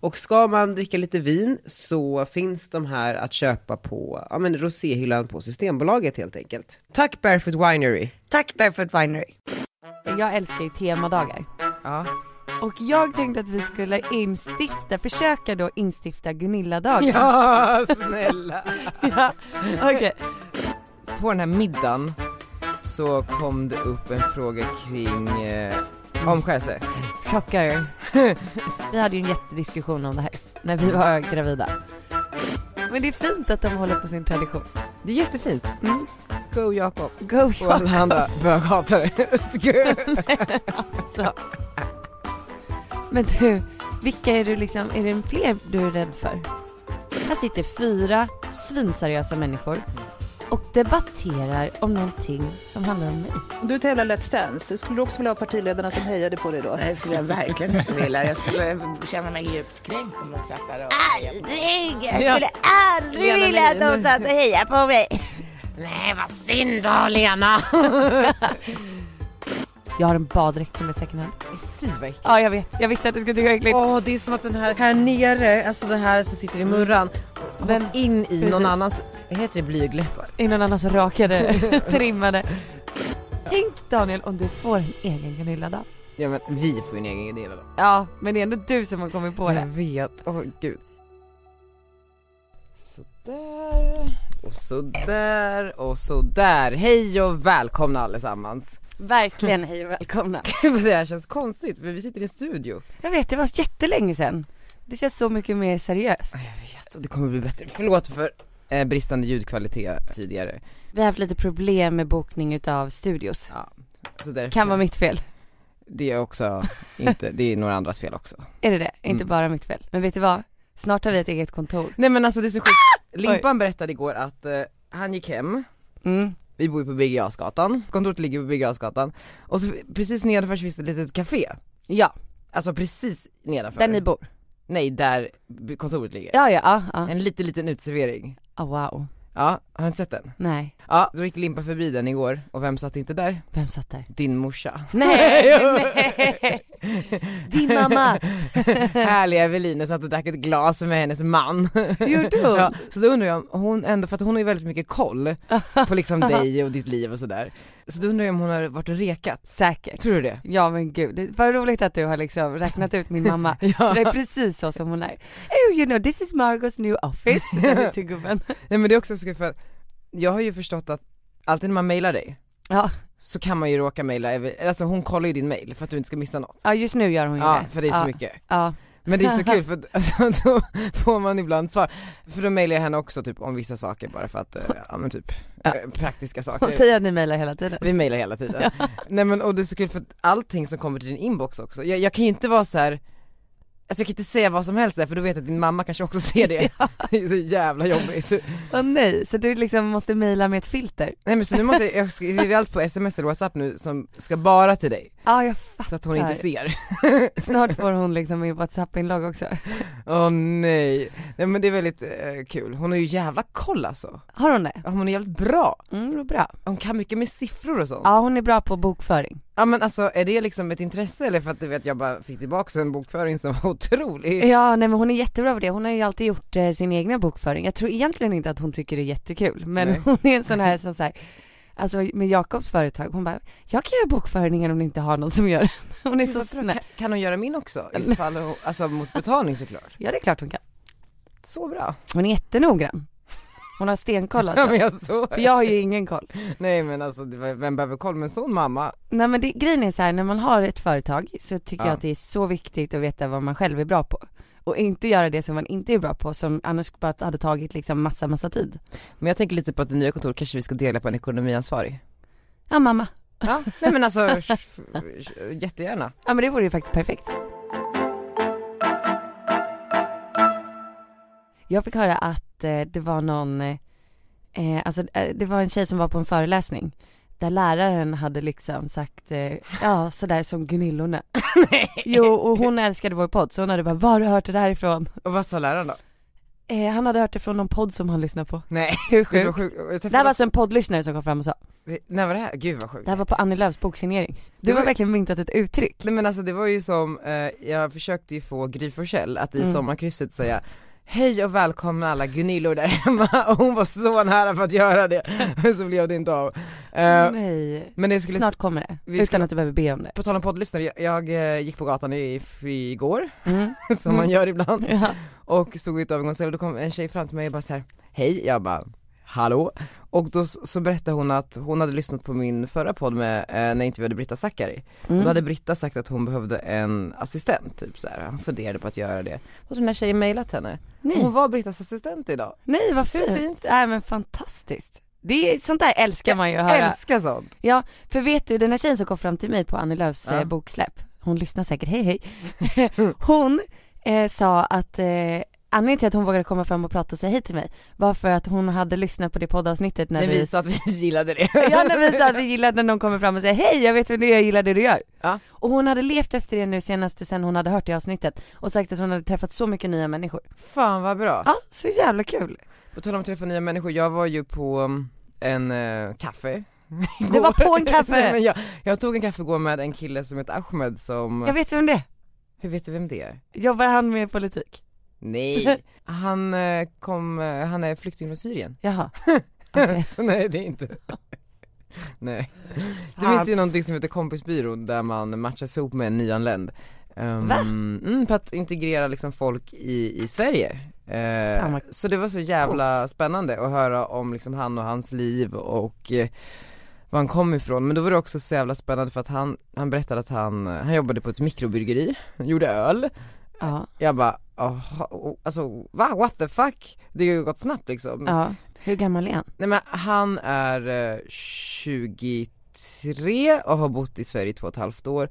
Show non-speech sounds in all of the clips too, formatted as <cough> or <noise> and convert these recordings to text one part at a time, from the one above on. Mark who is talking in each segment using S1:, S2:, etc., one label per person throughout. S1: Och ska man dricka lite vin så finns de här att köpa på ja, men roséhyllan på Systembolaget helt enkelt. Tack Barefoot Winery!
S2: Tack Barefoot Winery.
S3: Jag älskar ju temadagar.
S1: Ja.
S3: Och jag tänkte att vi skulle instifta, försöka då instifta Gunilla-dagen.
S1: Ja, snälla.
S3: <laughs> Ja, Okej,
S1: På den här middagen så kom det upp en fråga kring eh, omskärelse.
S3: chockar. Vi hade ju en jättediskussion om det här när vi var gravida. Men det är fint att de håller på sin tradition.
S1: Det är jättefint.
S3: Mm.
S1: Go Jakob.
S3: Go
S1: Och alla
S3: Jakob!
S1: andra böghatare.
S3: <laughs>
S1: Skö.
S3: Så. alltså. Men du, vilka är du liksom, är det fler du är rädd för? Här sitter fyra svinseriösa människor och debatterar om någonting som handlar om mig.
S4: Du tävlar Let's Dance. Skulle du också vilja ha partiledarna som hejade på dig då?
S5: Det skulle jag verkligen inte vilja. Jag skulle känna mig djupt kränkt om de satt där och...
S2: Aldrig! Jag skulle aldrig vilja att de satt och hejade på mig.
S5: Nej, vad synd då, Lena!
S3: Jag har en baddräkt som är second hand.
S1: Fy vad äckligt.
S3: Ja jag vet, jag visste att du skulle tycka det var äckligt.
S1: Åh, det är som att den här, här nere, alltså det här som sitter i murran,
S3: Den-
S1: gått in i någon
S3: Mm. precis.
S1: annans, heter det blygläppar?
S3: Innan annars rakade, trimmade. Tänk Daniel om du får en egen Gunilla-dag.
S1: Ja men vi får ju en egen idé då.
S3: Ja, men det är ändå du som har kommit på
S1: Jag
S3: det.
S1: vet, åh gud. Sådär, och sådär, och sådär. Hej och välkomna allesammans. <laughs>
S3: Verkligen hej och välkomna.
S1: Gud vad det här känns konstigt, för vi sitter i en studio.
S3: Jag vet, det var jättelänge sedan. Det känns så mycket mer seriöst.
S1: Det kommer bli bättre, förlåt för eh, bristande ljudkvalitet tidigare.
S3: Vi har haft lite problem med bokning utav studios.
S1: Ja, så därför,
S3: Kan vara mitt fel.
S1: Det är också inte, det är några andras fel också.
S3: Är det det? Inte
S1: Mm.
S3: bara mitt fel. Men vet du vad? Snart har vi ett eget kontor.
S1: Nej men alltså det är så sjukt, Limpan berättade igår att eh, han gick hem,
S3: Mm.
S1: vi bor ju på Birger Jarlsgatan, kontoret ligger på Birger Jarlsgatan och så precis nedanför så finns det ett litet café
S3: Ja,
S1: Alltså precis nedanför?
S3: där ni bor.
S1: Nej, där b- kontoret ligger.
S3: Ja, ja, ja. ja.
S1: En liten, liten uteservering.
S3: Ah, wow.
S1: Ja, har du inte sett den?
S3: Nej,
S1: Ja, då gick Limpa förbi den igår, och vem satt inte där?
S3: vem satt där?
S1: Din morsa. <laughs>
S3: Nej, <laughs> nej. Din <laughs> mamma.
S1: Härliga Evelina satt och drack ett glas med hennes man.
S3: Gjorde hon?
S1: Ja, så då undrar jag om hon ändå, för att hon har ju väldigt mycket koll på liksom dig och ditt liv och sådär. Så då undrar jag om hon har varit och rekat.
S3: Säkert.
S1: Tror du det?
S3: Ja men gud, det- vad roligt att du har liksom räknat ut min <laughs> mamma.
S1: Ja.
S3: Det är precis så som hon är. Oh you know this is Margos new office, sa vi till gubben.
S1: Nej men det är också så kul för jag har ju förstått att alltid när man mejlar dig
S3: Ja.
S1: så kan man ju råka mejla, Eve- alltså hon kollar ju din mejl för att du inte ska missa något.
S3: Ja just nu gör hon ju
S1: Ja,
S3: det.
S1: för det är så
S3: ja.
S1: mycket.
S3: Ja.
S1: Men det är så kul
S3: <laughs>
S1: för att, alltså, <laughs> då får man ibland svar, för då mejlar jag henne också typ om vissa saker bara för att, eh, ja men typ
S3: Ja.
S1: eh, praktiska
S3: Hon
S1: saker.
S3: säger att ni mejlar hela tiden.
S1: Vi mejlar hela
S3: <laughs>
S1: tiden. Nej men och det är så kul för att allting som kommer till din inbox också, jag, jag kan ju inte vara så här. Alltså jag kan inte säga vad som helst där för då vet jag att din mamma kanske också ser
S3: <laughs>
S1: det. Det är så jävla jobbigt.
S3: Åh nej, så du liksom måste mejla med ett filter?
S1: Nej men så nu måste jag, jag skriver allt på sms eller whatsapp nu som ska bara till dig.
S3: Ja jag fattar.
S1: Så att hon inte ser.
S3: Snart får hon liksom min whatsapp-inlogg också.
S1: Åh nej. Nej men det är väldigt eh, kul, hon har ju jävla koll alltså.
S3: Har hon det?
S1: Hon är jävligt bra.
S3: Mm, vad bra.
S1: Hon kan mycket med siffror och sånt. Ja.
S3: Ja hon är bra på bokföring.
S1: men alltså är det liksom ett intresse eller för att du vet jag bara fick tillbaks en bokföring som var otrolig.
S3: Ja nej men hon är jättebra på det, hon har ju alltid gjort eh, sin egna bokföring. Jag tror egentligen inte att hon tycker det är jättekul men
S1: Nej.
S3: hon är en sån här som så här, alltså med Jakobs företag, hon bara, jag kan göra bokföringen om ni inte har någon som gör den. <laughs> Hon är så snäll.
S1: Kan, kan hon göra min också? Ifall hon, alltså mot betalning såklart.
S3: Ja det är klart hon kan.
S1: Så bra.
S3: Hon är jättenoggrann. Hon har stenkoll
S1: <laughs> Ja,
S3: alltså.
S1: men jag såg.
S3: För jag har ju ingen koll.
S1: Nej men alltså det var- vem behöver koll med en sån mamma?
S3: Nej men det, grejen är så här, när man har ett företag så tycker
S1: Ja.
S3: jag att det är så viktigt att veta vad man själv är bra på. Och inte göra det som man inte är bra på som annars bara hade tagit liksom massa, massa tid.
S1: Men jag tänker lite på att det nya kontoret kanske vi ska dela på en ekonomiansvarig.
S3: Ja mamma.
S1: Ja, nej men alltså sh- sh- jättegärna.
S3: Ja men det vore ju faktiskt perfekt. Jag fick höra att eh, det var någon, eh, eh, alltså eh, det var en tjej som var på en föreläsning där läraren hade liksom sagt, eh, ja sådär
S1: <laughs>
S3: som Gunillorna. Jo och hon älskade vår podd så hon hade bara, var har du hört det där ifrån?
S1: Och vad sa läraren då?
S3: Eh, han hade hört det från någon podd som han lyssnade på.
S1: Nej, <laughs>
S3: Hur
S1: det var sjukt.
S3: sjukt?
S1: Jag
S3: Det här
S1: träffade
S3: var alltså en poddlyssnare som kom fram och sa,
S1: Det- När var det här? Gud vad sjukt.
S3: det här var på Annie Lööfs boksignering.
S1: Det
S3: Det
S1: var-
S3: var verkligen myntat ett uttryck.
S1: Nej men alltså det var ju som, eh, jag försökte ju få Gry Forssell att i
S3: Mm.
S1: sommarkrysset säga Hej och välkomna alla Gunillor där hemma <laughs> och hon var så nära för att göra det, <laughs> men så blev det inte av. Eh,
S3: Nej.
S1: men det skulle,
S3: Mm. Snart kommer det,
S1: vi
S3: utan
S1: skulle-
S3: att du behöver be om det.
S1: på tal om poddlyssnare, jag, jag eh, gick på gatan i, i igår,
S3: Mm.
S1: <laughs> som man
S3: Mm.
S1: gör ibland,
S3: Ja.
S1: och stod i ett övergångsställe och då kom en tjej fram till mig och bara så här: hej, jag bara hallå? Och då s- så berättade hon att hon hade lyssnat på min förra podd med, eh, när jag intervjuade Britta Zackari
S3: Mm.
S1: Då hade Britta sagt att hon behövde en assistent, typ så här. hon funderade på att göra det. Och så den här tjejen mejlat henne.
S3: Nej.
S1: Hon var Brittas assistent idag.
S3: Nej vad
S1: Hur
S3: fint. Nej men fantastiskt. Det är, sånt där älskar man ju att höra.
S1: Älskar sånt!
S3: Ja, för vet du den här tjejen som kom fram till mig på Annie Lööfs
S1: Ja.
S3: eh, boksläpp, hon lyssnar säkert, hej hej. <laughs> hon eh, sa att eh, anledningen till att hon vågade komma fram och prata och säga hej till mig var för att hon hade lyssnat på det poddavsnittet när
S1: När vi
S3: vi
S1: sa att vi gillade det.
S3: <laughs> Ja när vi sa att vi gillade när någon kommer fram och säger hej jag vet vem du är, jag gillar det du gör.
S1: Ja.
S3: Och hon hade levt efter det nu senaste sen hon hade hört det avsnittet och sagt att hon hade träffat så mycket nya människor.
S1: <laughs> Fan vad bra.
S3: Ja, så jävla kul.
S1: På tal om att träffa nya människor, jag var ju på um, en eh,
S3: <laughs>
S1: kaffe
S3: Det var
S1: <laughs>
S3: på en kaffe.
S1: Nej, men jag, jag tog en kaffe igår med en kille som heter Ahmed som,
S3: Jag vet vem det är.
S1: hur vet du vem det är?
S3: Jobbar han med politik? <laughs>
S1: Nej! Han eh, kom, eh, han är flykting från Syrien.
S3: <laughs> Jaha. Okej.
S1: Så <laughs> nej det är
S3: <laughs>
S1: inte Nej. Det
S3: Han-
S1: finns ju någonting som heter kompisbyrån där man matchas ihop med en nyanländ Ehm,
S3: Va?
S1: Mm, för att integrera liksom folk i, i Sverige Eh,
S3: Fan, vad
S1: Så det var så jävla spännande att höra om liksom han och hans liv och eh, var han kom ifrån, men då var det också så jävla spännande för att han, han berättade att han, han jobbade på ett mikrobryggeri, <laughs> gjorde öl
S3: Ja,
S1: Jag bara, aha, oh, alltså va, what the fuck? Det har ju gått snabbt liksom
S3: ja. Hur gammal är han?
S1: Nej men han är eh, 23 och har bott i Sverige i två och ett halvt år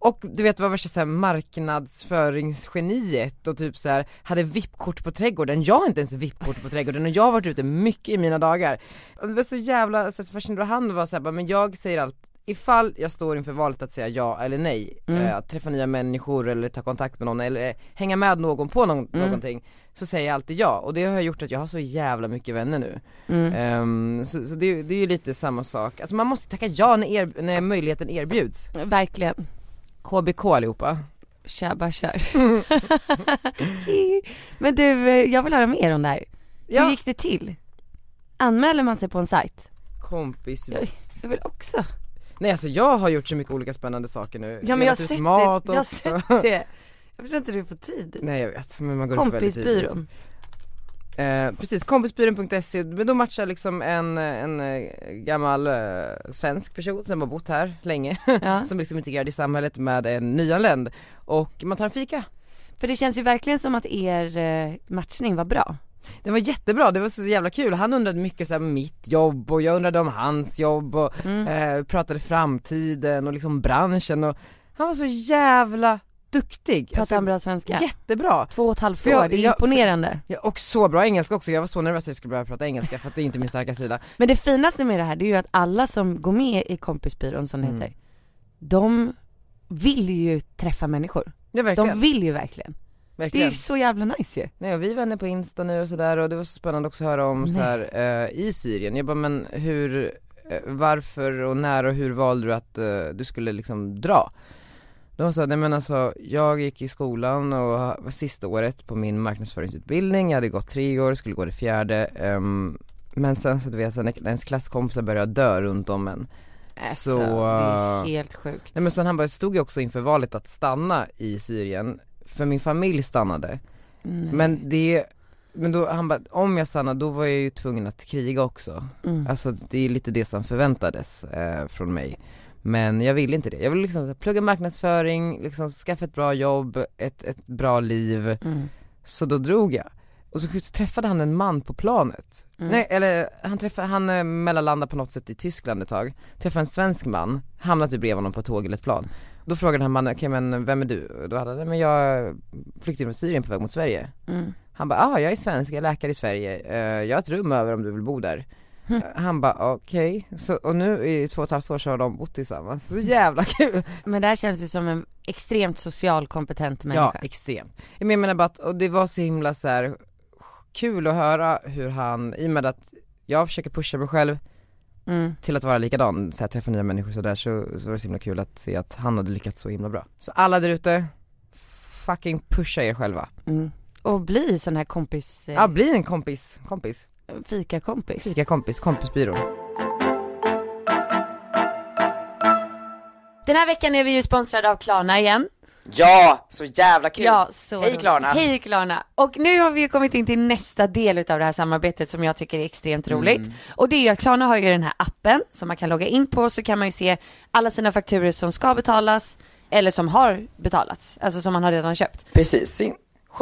S1: och du vet vad värsta såhär marknadsföringsgeniet och typ så här hade VIP-kort på trädgården, jag har inte ens VIP-kort på trädgården och jag har varit ute mycket i mina dagar. Och det var så jävla så här, så fascinerande och han var såhär men jag säger allt Ifall jag står inför valet att säga ja eller nej,
S3: Mm.
S1: eh, att träffa nya människor eller ta kontakt med någon eller eh, hänga med någon på någon,
S3: Mm.
S1: någonting, så säger jag alltid ja och det har gjort att jag har så jävla mycket vänner nu.
S3: Mm.
S1: Ehm, så så det, är ju- det är ju lite samma sak, alltså man måste tacka ja när, er, när möjligheten erbjuds
S3: Verkligen.
S1: KBK allihopa
S3: Kör, bara kör. <laughs> Men du, eh, jag vill höra mer om det här. Hur
S1: Ja,
S3: gick det till? Anmäler man sig på en sajt?
S1: kompis
S3: Jag- Jag vill också.
S1: Nej alltså jag har gjort så mycket olika spännande saker nu
S3: Ja men jag har
S1: Delat ut
S3: sett
S1: mat
S3: det. Jag har
S1: också.
S3: sett det. Jag förstår inte hur du får tid.
S1: <laughs> Nej jag vet, men man går upp väldigt tidigt
S3: Kompisbyrån.
S1: Eh, precis, kompisbyrån.se, men då matchar liksom en, eh, en eh, gammal eh, svensk person som har bott här länge, <laughs>
S3: Ja.
S1: som liksom är integrerad i samhället med en nyanländ och man tar en fika
S3: För det känns ju verkligen som att er eh, matchning var bra.
S1: Det var jättebra, det var så jävla kul. Han undrade mycket så här, om mitt jobb och jag undrade om hans jobb och eh, pratade framtiden och liksom branschen och han var så jävla duktig. Alltså,
S3: Pratar han bra svenska?
S1: Jättebra.
S3: Två och ett halvt
S1: För
S3: år,
S1: jag-
S3: det är
S1: jag-
S3: imponerande.
S1: Ja, och så bra engelska också, jag var så nervös att jag skulle börja prata engelska för att det är inte min starka sida.
S3: Men det finaste med det här det är ju att alla som går med i kompisbyrån som det
S1: Mm.
S3: heter, de vill ju träffa människor.
S1: Ja verkligen.
S3: De vill ju verkligen. Det är
S1: verkligen.
S3: ju så jävla nice ju.
S1: Nej och vi är vänner på Insta nu och sådär och det var så spännande också att höra om
S3: Nej.
S1: så här eh, i Syrien. Jag bara men hur, eh, varför och när och hur valde du att eh, du skulle liksom dra? De sa, nej men alltså jag gick i skolan och ha- var sista året på min marknadsföringsutbildning, jag hade gått tre år, skulle gå det fjärde ehm, Men sen så du vet, så när ens klasskompisar började dö runt om en
S3: Alltså,
S1: Så,
S3: det är
S1: eh,
S3: helt sjukt.
S1: Nej men sen han bara, jag stod ju också inför valet att stanna i Syrien, för min familj stannade
S3: Nej.
S1: men det, men då, han bara, om jag stannar då var jag ju tvungen att kriga också.
S3: Mm.
S1: Alltså det är ju lite det som förväntades eh, från mig. Men jag ville inte det. Jag ville liksom plugga marknadsföring, liksom skaffa ett bra jobb, ett, ett bra liv.
S3: Mm.
S1: Så då drog jag. Och så träffade han en man på planet.
S3: Mm.
S1: Nej eller han träffade, han eh, mellanlandade på något sätt i Tyskland ett tag. Träffade en svensk man, hamnade typ bredvid honom på ett tåg eller ett plan. Då frågade han mannen, okej men vem är du? Då hade han, "Nej, men jag är flykting från Syrien på väg mot Sverige.
S3: Mm.
S1: Han bara, ah jag är svensk, jag är läkare i Sverige, Eh, jag har ett rum över om du vill bo där.
S3: Hm.
S1: Eh, Han bara okej, Så- och nu i två och ett halvt år så har de bott tillsammans, så jävla kul!
S3: Men det här känns ju som en extremt social kompetent
S1: Ja,
S3: <laughs> människa.
S1: extremt. Men jag menar bara att, och det var så himla så här kul att höra hur han, i och med att jag försöker pusha mig själv
S3: Mm.
S1: till att vara likadan, så här, träffa nya människor så där så, så var det så himla kul att se att han hade lyckats så himla bra. Så alla där ute, fucking pusha er själva.
S3: Mm. Och bli sån här kompis, eh,
S1: Ja, bli en kompis, kompis,
S3: fikakompis.
S1: fika kompis, kompisbyrå.
S3: Den här veckan är vi ju sponsrade av Klarna igen.
S1: Ja, så jävla kul!
S3: Ja, så
S1: Hej,
S3: roligt.
S1: Klarna.
S3: Hej Klarna! Och nu har vi ju kommit in till nästa del utav det här samarbetet som jag tycker är extremt
S1: Mm.
S3: roligt. Och det är ju att Klarna har ju den här appen som man kan logga in på så kan man ju se alla sina fakturer som ska betalas eller som har betalats, alltså som man har redan köpt.
S1: Precis, sin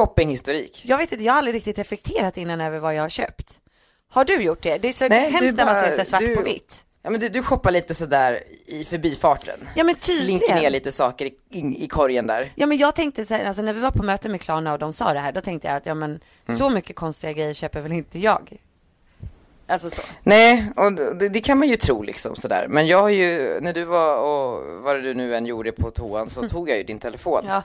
S1: shoppinghistorik.
S3: Jag vet inte, jag har aldrig riktigt reflekterat innan över vad jag har köpt. Har du gjort det? Det är så
S1: Nej, du
S3: hemskt när man
S1: bara-
S3: ser så här svart
S1: du-
S3: på vitt.
S1: Ja men du, du shoppar lite sådär i förbifarten.
S3: Ja men
S1: Slinker ner
S3: tydligen.
S1: lite saker i, i, i korgen där.
S3: Ja men jag tänkte så här, alltså när vi var på möte med Klarna och de sa det här, då tänkte jag att ja men
S1: Mm.
S3: så mycket konstiga grejer köper väl inte jag. Alltså så.
S1: Nej, och det, det kan man ju tro liksom sådär. Men jag har ju, när du var och vad du nu än gjorde på toan så tog jag ju din telefon.
S3: Mm. Ja.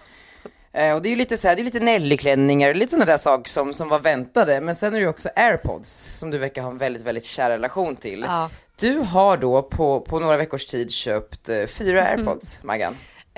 S1: Eh, och det är ju lite såhär, det är lite Nelly-klänningar, lite sådana där saker som, som var väntade. Men sen är det ju också airpods som du verkar ha en väldigt, väldigt kär relation till.
S3: ja.
S1: Du har då på, på några veckors tid köpt eh, fyra
S3: Mhm.
S1: airpods, Maggan.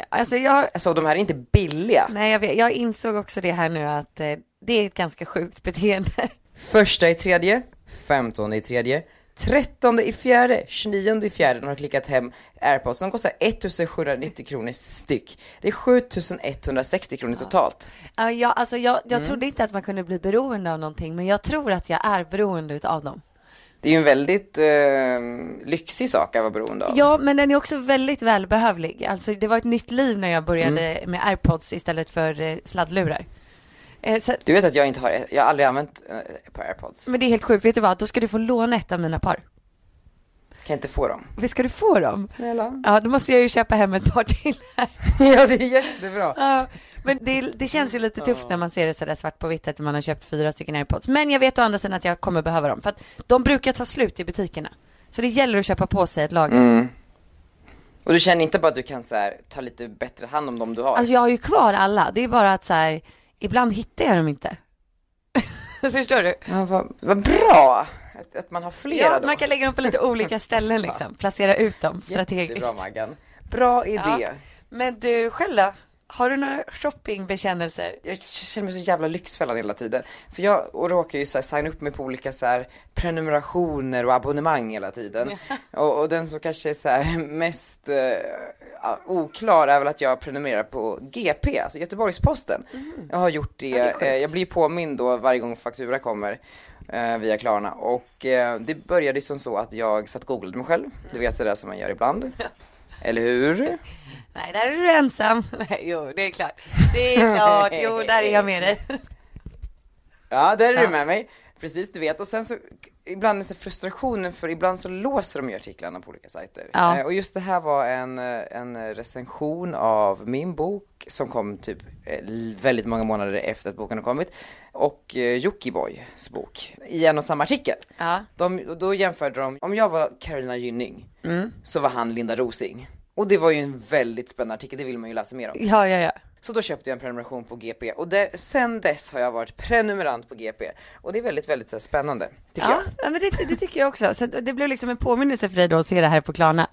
S3: Alltså jag,
S1: Alltså de här är inte billiga.
S3: nej jag, vet, jag insåg också det här nu att eh, det är ett ganska sjukt beteende.
S1: Första i tredje, femtonde i tredje, trettonde i fjärde, tjugonionde i fjärde när de har klickat hem airpods. De kostar 1790 kronor styck. Det är 7160 kronor totalt.
S3: Ja, jag, alltså jag, jag trodde inte att man kunde bli beroende av någonting, men jag tror att jag är beroende utav dem.
S1: Det är ju en väldigt eh, lyxig sak att vara beroende av.
S3: Ja, men den är också väldigt välbehövlig. Alltså det var ett nytt liv när jag började med airpods istället för eh, sladdlurar. Eh, så,
S1: Du vet att jag inte har, jag har aldrig använt eh, ett par airpods.
S3: men det är helt sjukt, vet du vad? Då ska du få låna ett av mina par.
S1: Kan inte få dem.
S3: Visst ska du få dem?
S1: Snälla.
S3: Ja, då måste jag ju köpa hem ett par till.
S1: <laughs> ja det är jättebra.
S3: Ja, men det, det känns ju lite tufft när man ser det sådär svart på vitt att man har köpt fyra stycken airpods. Men jag vet å andra sidan att jag kommer behöva dem för att de brukar ta slut i butikerna. Så det gäller att köpa på sig ett lager.
S1: Mm. Och du känner inte bara att du kan så här, ta lite bättre hand om dem du har?
S3: Alltså jag har ju kvar alla, det är bara att så här, ibland hittar jag dem inte. <laughs> Förstår du?
S1: Ja, vad, vad bra att, att man har flera
S3: Ja,
S1: då.
S3: man kan lägga dem på lite olika ställen liksom, placera ut dem strategiskt.
S1: Jättebra Maggan. Bra idé.
S3: Ja. Men du själv då? Har du några shoppingbekännelser?
S1: Jag känner mig så jävla lyxfällan hela tiden. För jag och råkar ju så här signa upp mig på olika så här prenumerationer och abonnemang hela tiden. <laughs> och, och den som kanske är så här mest eh, ja, oklar är väl att jag prenumererar på GP, alltså Göteborgs-Posten. Jag har gjort det,
S3: Mm. det är sjukt.
S1: eh, jag blir påmind då varje gång faktura kommer eh, via Klarna. Och eh, det började ju som så att jag satt och googlade mig själv, du vet sådär som man gör ibland. Eller hur?
S3: Nej, där är du ensam. <laughs> Nej, jo, det är klart. Det är klart. Jo, där är jag
S1: <laughs>
S3: med dig.
S1: Ja, där är
S3: Ja.
S1: du med mig. Precis, du vet. Och sen så, ibland är det frustrationen för ibland så låser de ju artiklarna på olika sajter.
S3: Ja.
S1: Eh, och just det här var en, eh, en recension av min bok som kom typ eh, l- väldigt många månader efter att boken har kommit. Och eh, Jockiboi-s bok i en och samma artikel.
S3: Ja.
S1: De, och då jämförde de, om jag var Carolina Gynning
S3: Mm.
S1: så var han Linda Rosing. Och det var ju en väldigt spännande artikel, det vill man ju läsa mer om.
S3: Ja, ja, ja.
S1: Så då köpte jag en prenumeration på GP och det, sen dess har jag varit prenumerant på GP och det är väldigt, väldigt så här, spännande tycker
S3: Ja,
S1: jag.
S3: ja men det, det tycker jag också. Så att det blev liksom en påminnelse för dig då att se det här på Klarna.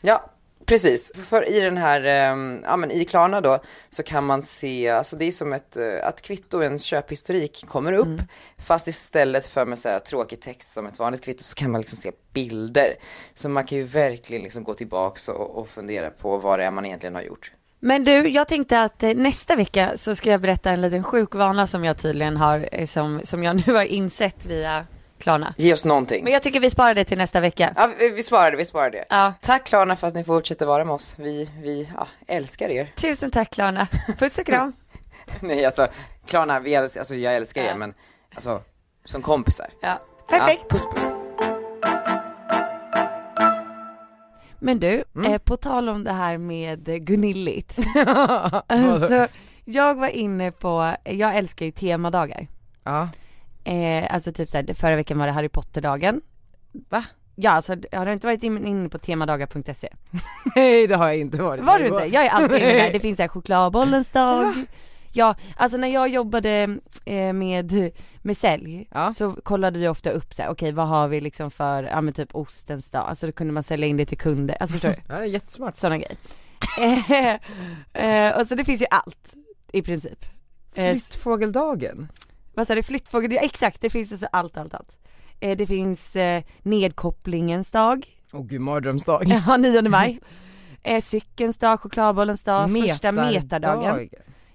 S1: Ja, precis. För i den här, ehm, ja men i Klarna då så kan man se, alltså det är som ett, eh, att kvitto och ens köphistorik kommer upp fast istället för med så här tråkig text som ett vanligt kvitto så kan man liksom se bilder. Så man kan ju verkligen liksom gå tillbaks och, och fundera på vad det är man egentligen har gjort.
S3: Men du, jag tänkte att eh, nästa vecka så ska jag berätta en liten sjuk vana som jag tydligen har, eh, som, som jag <laughs> nu har insett via Klarna.
S1: Ge oss någonting.
S3: Men jag tycker vi sparar det till nästa vecka.
S1: Ja, vi, vi sparar det, vi sparar det.
S3: Ja.
S1: Tack Klarna för att ni fortsätter vara med oss. Vi, vi ja, älskar er.
S3: Tusen tack Klarna. Puss och kram.
S1: Nej alltså, Klarna, vi älskar, alltså jag älskar er
S3: Ja.
S1: men alltså, som kompisar.
S3: Ja. Perfekt.
S1: Ja, puss puss.
S3: Men du,
S1: Mm.
S3: eh, på tal om det här med
S1: <laughs>
S3: eh, Gunilligt. alltså, jag var inne på, jag älskar ju temadagar.
S1: Ja.
S3: Eh, alltså typ såhär, förra veckan var det Harry Potter-dagen. Va? Ja alltså, har du inte varit in- inne på temadagar.se?
S1: <laughs> Nej det har jag inte varit.
S3: Var du inte? Jag är alltid inne där,
S1: <laughs> Nej.
S3: det finns såhär chokladbollens dag. Ja, alltså när jag jobbade eh, med, med sälj
S1: Ja.
S3: så kollade vi ofta upp såhär, okej vad har vi liksom för, ja men typ ostens dag, alltså då kunde man sälja in det till kunder, alltså förstår du?
S1: <laughs> Ja, det är jättesmart.
S3: sådana grejer. Eh, eh, och så det finns ju allt i princip. Eh, s-
S1: Flyttfågeldagen.
S3: vad sa du, flyttfågel, ja, exakt det finns alltså allt, allt, allt. Eh, det finns eh, nedkopplingens dag,
S1: Åh gud, mardrömsdag.
S3: <laughs> ja 9 maj. Eh, cykelns dag, chokladbollens dag, första metardagen,
S1: Metardagen.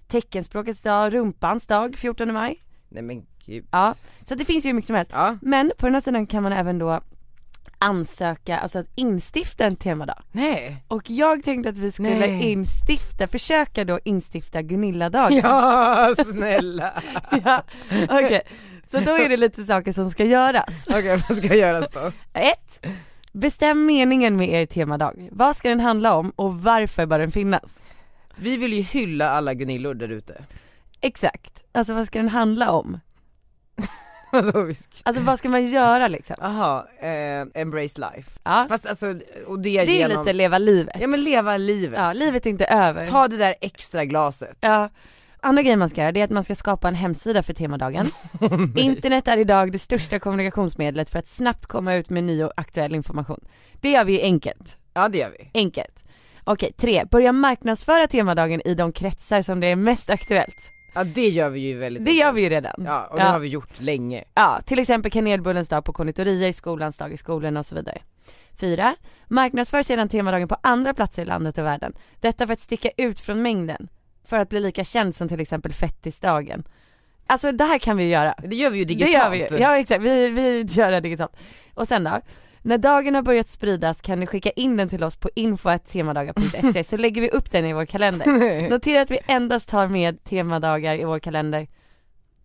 S3: teckenspråkets dag, rumpans dag 14 maj.
S1: Nej men gud.
S3: Ja, så att det finns ju hur mycket som helst.
S1: Ja.
S3: Men på den här sidan kan man även då ansöka, alltså att instifta en temadag.
S1: Nej.
S3: Och jag tänkte att vi skulle
S1: Nej.
S3: instifta, försöka då instifta Gunilla-dagen.
S1: Ja, Ah, snälla.
S3: <laughs>
S1: <laughs>
S3: Ja, Okej, så då är det lite saker som ska göras.
S1: Okej, vad ska göras då?
S3: Ett, Bestäm meningen med er temadag. Vad ska den handla om och varför bör den finnas?
S1: Vi vill ju hylla alla Gunillor där ute. <laughs>
S3: Exakt, alltså vad ska den handla om?
S1: Vadå vi ska-
S3: Alltså vad ska man göra liksom?
S1: Jaha, eh, embrace life.
S3: Ja,
S1: Fast alltså, och det,
S3: det är ju
S1: genom...
S3: lite leva livet.
S1: Ja men leva livet.
S3: Ja, livet är inte över.
S1: Ta det där extra glaset.
S3: Ja. Andra grejen man ska göra det är att man ska skapa en hemsida för temadagen.
S1: <laughs>
S3: Internet är idag det största kommunikationsmedlet för att snabbt komma ut med ny och aktuell information. Det gör vi ju enkelt.
S1: Ja det gör vi.
S3: Enkelt. Okej, tre. Börja marknadsföra temadagen i de kretsar som det är mest aktuellt.
S1: Ja det gör vi ju väldigt
S3: Det gör vi ju redan.
S1: Ja och det
S3: ja.
S1: har vi gjort länge.
S3: ja, till exempel kanelbullens dag på konditorier, skolans dag i skolorna och så vidare. Fyra. Marknadsför sedan temadagen på andra platser i landet och världen. Detta för att sticka ut från mängden. För att bli lika känd som till exempel fettisdagen. Alltså det här kan vi ju göra.
S1: Det gör vi ju digitalt.
S3: Det gör vi. ju. Ja exakt, vi, vi gör det digitalt. Och sen då? När dagen har börjat spridas kan ni skicka in den till oss på info.temadagar.se så lägger vi upp den i
S1: <laughs>
S3: vår kalender. Notera att vi endast tar med temadagar i vår kalender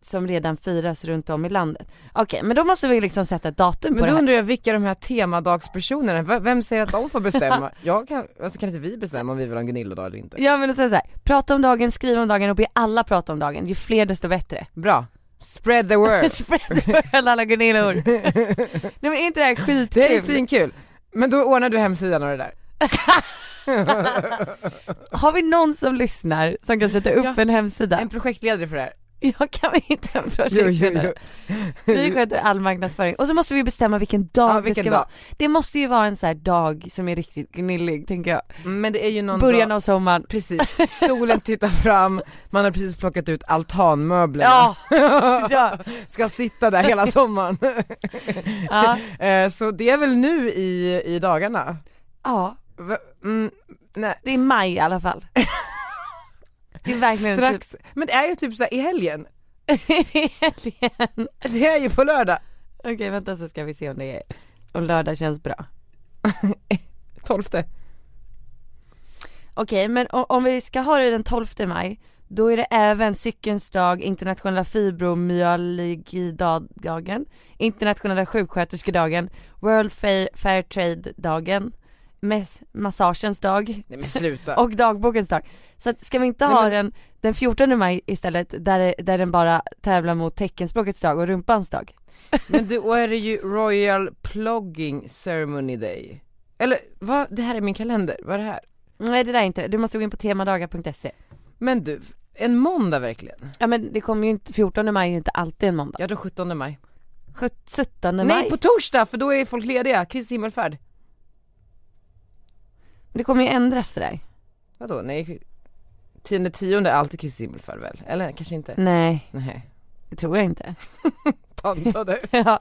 S3: som redan firas runt om i landet. Okej, men då måste vi liksom sätta ett datum på
S1: Men
S3: det
S1: då
S3: här.
S1: undrar jag vilka de här temadagspersonerna, v- vem säger att de får
S3: <laughs>
S1: bestämma? Jag kan, alltså kan inte vi bestämma om vi vill ha en Gunilla-dag eller inte?
S3: Ja men då säger jag så här, prata om dagen, skriv om dagen och be alla prata om dagen. Ju fler desto bättre.
S1: Bra. Spread the word.
S3: <laughs> Spread the word alla Gunillor.
S1: <laughs>
S3: Nej men är inte det här skitkul?
S1: Det är svinkul. Men då ordnar du hemsidan och det där.
S3: Har vi någon som lyssnar som kan sätta upp
S1: Ja.
S3: en hemsida? <laughs>
S1: En projektledare för det här.
S3: Jag kan vi inte en projektledare. Vi sköter all marknadsföring. Och så måste vi bestämma vilken dag
S1: Ja, vilken
S3: det ska
S1: dag.
S3: vara. Det måste ju vara en sån här dag som är riktigt gnillig tänker jag.
S1: Men det är ju någon
S3: Början
S1: dag-
S3: av sommaren.
S1: Precis, solen tittar fram, man har precis plockat ut altanmöblerna. <laughs>
S3: Ja, ja,
S1: Ska sitta där hela sommaren.
S3: ja. <laughs>
S1: <laughs> Eh, Så det är väl nu i, i dagarna.
S3: ja,
S1: Va- Mm, nej.
S3: det är maj i alla fall. Det är verkligen <laughs>
S1: Strax, men det är ju typ så här i helgen.
S3: typ, det är helgen.
S1: Det är ju på lördag,
S3: Okej vänta så ska vi se om det är, om lördag känns bra.
S1: 12.
S3: Okej men o- om vi ska ha det den 12 maj, då är det även cykelns dag, internationella fibromyalgidagen, internationella sjuksköterskedagen, World Fa- Fair Trade-dagen, mes- massagens dag
S1: Nej men sluta.
S3: och dagbokens dag. Så att, ska vi inte
S1: Nej,
S3: ha
S1: men-
S3: den den 14 maj istället där, det- där den bara tävlar mot teckenspråkets dag och rumpans dag?
S1: Men då är det ju Royal Plogging Ceremony Day. Eller vad, det här är min kalender, vad är det här?
S3: Nej det där är inte det, du måste gå in på temadagar.se.
S1: Men du, en måndag verkligen?
S3: Ja men det kommer ju inte, 14 maj är ju inte alltid en måndag.
S1: Ja då 17 maj.
S3: 17 maj.
S1: Nej, på torsdag för då är folk lediga, Kristi himmelfärd.
S3: Men det kommer ju ändras det där.
S1: Mm. Vadå, nej? <laughs> Tionde tionde är alltid Kristi himmelfärd väl? Eller kanske inte?
S3: Nej.
S1: Nej.
S3: Det tror jag inte.
S1: <laughs> Pantade.
S3: ja,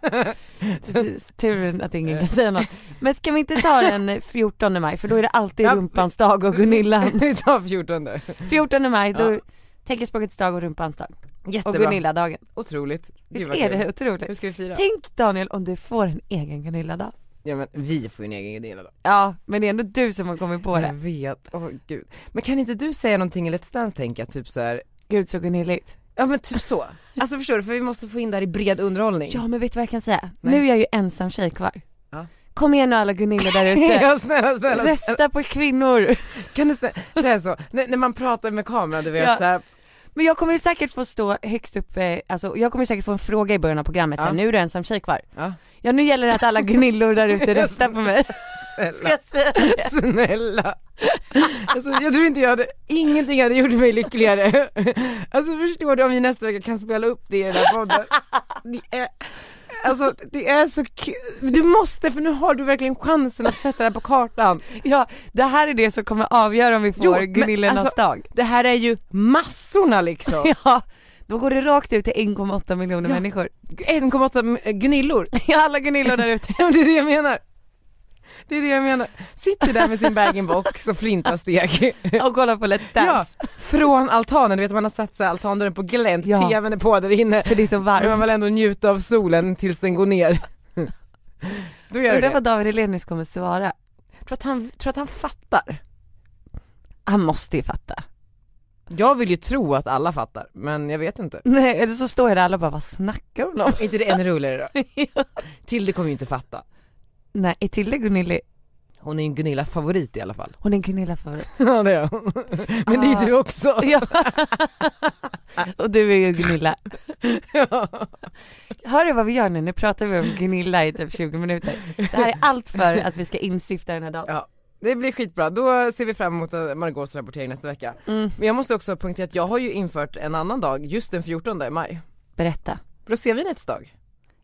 S3: precis. Turen att ingen kan säga något. Men kan vi inte ta den 14 maj för då är det alltid
S1: Ja.
S3: rumpans dag
S1: <laughs>
S3: och Gunilla.
S1: <laughs> Vi tar 14.
S3: 14 maj, då
S1: Ja.
S3: teckenspråkets dag och rumpans dag.
S1: Jättebra.
S3: Och Gunilla-dagen.
S1: Otroligt.
S3: Visst
S1: vad
S3: är
S1: kul.
S3: det otroligt?
S1: Hur ska vi fira?
S3: Tänk Daniel om du får en egen Gunilla-dag.
S1: Ja men vi får ju en egen idé då.
S3: Ja, men det är ändå du som har kommit på
S1: Jag
S3: det.
S1: vet, åh gud. Men kan inte du säga någonting i Let's Dance tänker jag, typ så här.
S3: Gud så Gunilligt.
S1: ja men typ så. Alltså förstår du, för vi måste få in det här i bred underhållning.
S3: Ja men vet du vad jag kan säga?
S1: Nej.
S3: Nu är jag ju ensam tjej kvar.
S1: Ja.
S3: Kom igen nu alla Gunilla där
S1: <laughs>
S3: ute.
S1: <laughs> Ja, snälla snälla.
S3: Rösta på kvinnor.
S1: Kan du snälla, säga så? När, när man pratar med kameran du vet
S3: Ja.
S1: så här,
S3: Men jag kommer ju säkert få stå högst upp, eh, alltså jag kommer säkert få en fråga i början av programmet
S1: Ja.
S3: så här, nu är du ensam tjej kvar.
S1: Ja.
S3: Ja nu gäller det att alla Gunillor
S1: <laughs>
S3: där ute röstar på mig. Ska
S1: snälla,
S3: jag säga
S1: <laughs>
S3: det?
S1: snälla. Alltså, jag tror inte jag hade, ingenting hade gjort mig lyckligare. Alltså förstår du om vi nästa vecka kan spela upp det i den här podden. Det är, alltså det är så kul, du måste för nu har du verkligen chansen att sätta det här på kartan.
S3: Ja, det här är det som kommer avgöra om vi
S1: Jo,
S3: får
S1: men
S3: Gunillornas
S1: alltså-
S3: dag.
S1: Det här är ju massorna liksom.
S3: Ja, då går det rakt ut till 1,8 miljoner
S1: Ja.
S3: människor. <laughs>
S1: 1,8 gnillor. <laughs>
S3: Ja, alla Gunillor där ute.
S1: Ja, men det är det jag menar. Det är det jag menar. Sitter där med sin bag-in-box och flintar steg.
S3: och kollar på Let's
S1: Ja,
S3: Dance.
S1: från altanen, du vet man har satt sig altandörren på glänt,
S3: Ja.
S1: tvn är på där inne.
S3: För det är så varmt.
S1: Men man vill ändå njuta av solen tills den går ner. <laughs> Då gör du
S3: Undrar
S1: det.
S3: vad David Hellenius kommer svara.
S1: Tror att, han, tror att han fattar?
S3: Han måste ju fatta.
S1: Jag vill ju tro att alla fattar, men jag vet inte.
S3: Nej, eller så står jag där alla bara, vad snackar hon om?
S1: Är inte det ännu roligare <laughs> då? Tilde kommer ju inte fatta.
S3: Nej, är Tilde Gunilla,
S1: Hon är ju en Gunilla-favorit i alla fall. Ah.
S3: hon är en Gunilla-favorit.
S1: <laughs> Ja det är hon. Men det är ju du också.
S3: <laughs> Ja. <laughs> och du är ju Gunilla.
S1: <laughs> Ja.
S3: Hör du vad vi gör nu? Nu pratar vi om Gunilla i typ 20 minuter. Det här är allt för att vi ska instifta den här dagen.
S1: Ja, det blir skitbra. Då ser vi fram emot eh, Margaux rapportering nästa vecka.
S3: Mm.
S1: Men jag måste också poängtera att jag har ju infört en annan dag, just den 14 maj.
S3: Berätta.
S1: Rosévinets dag.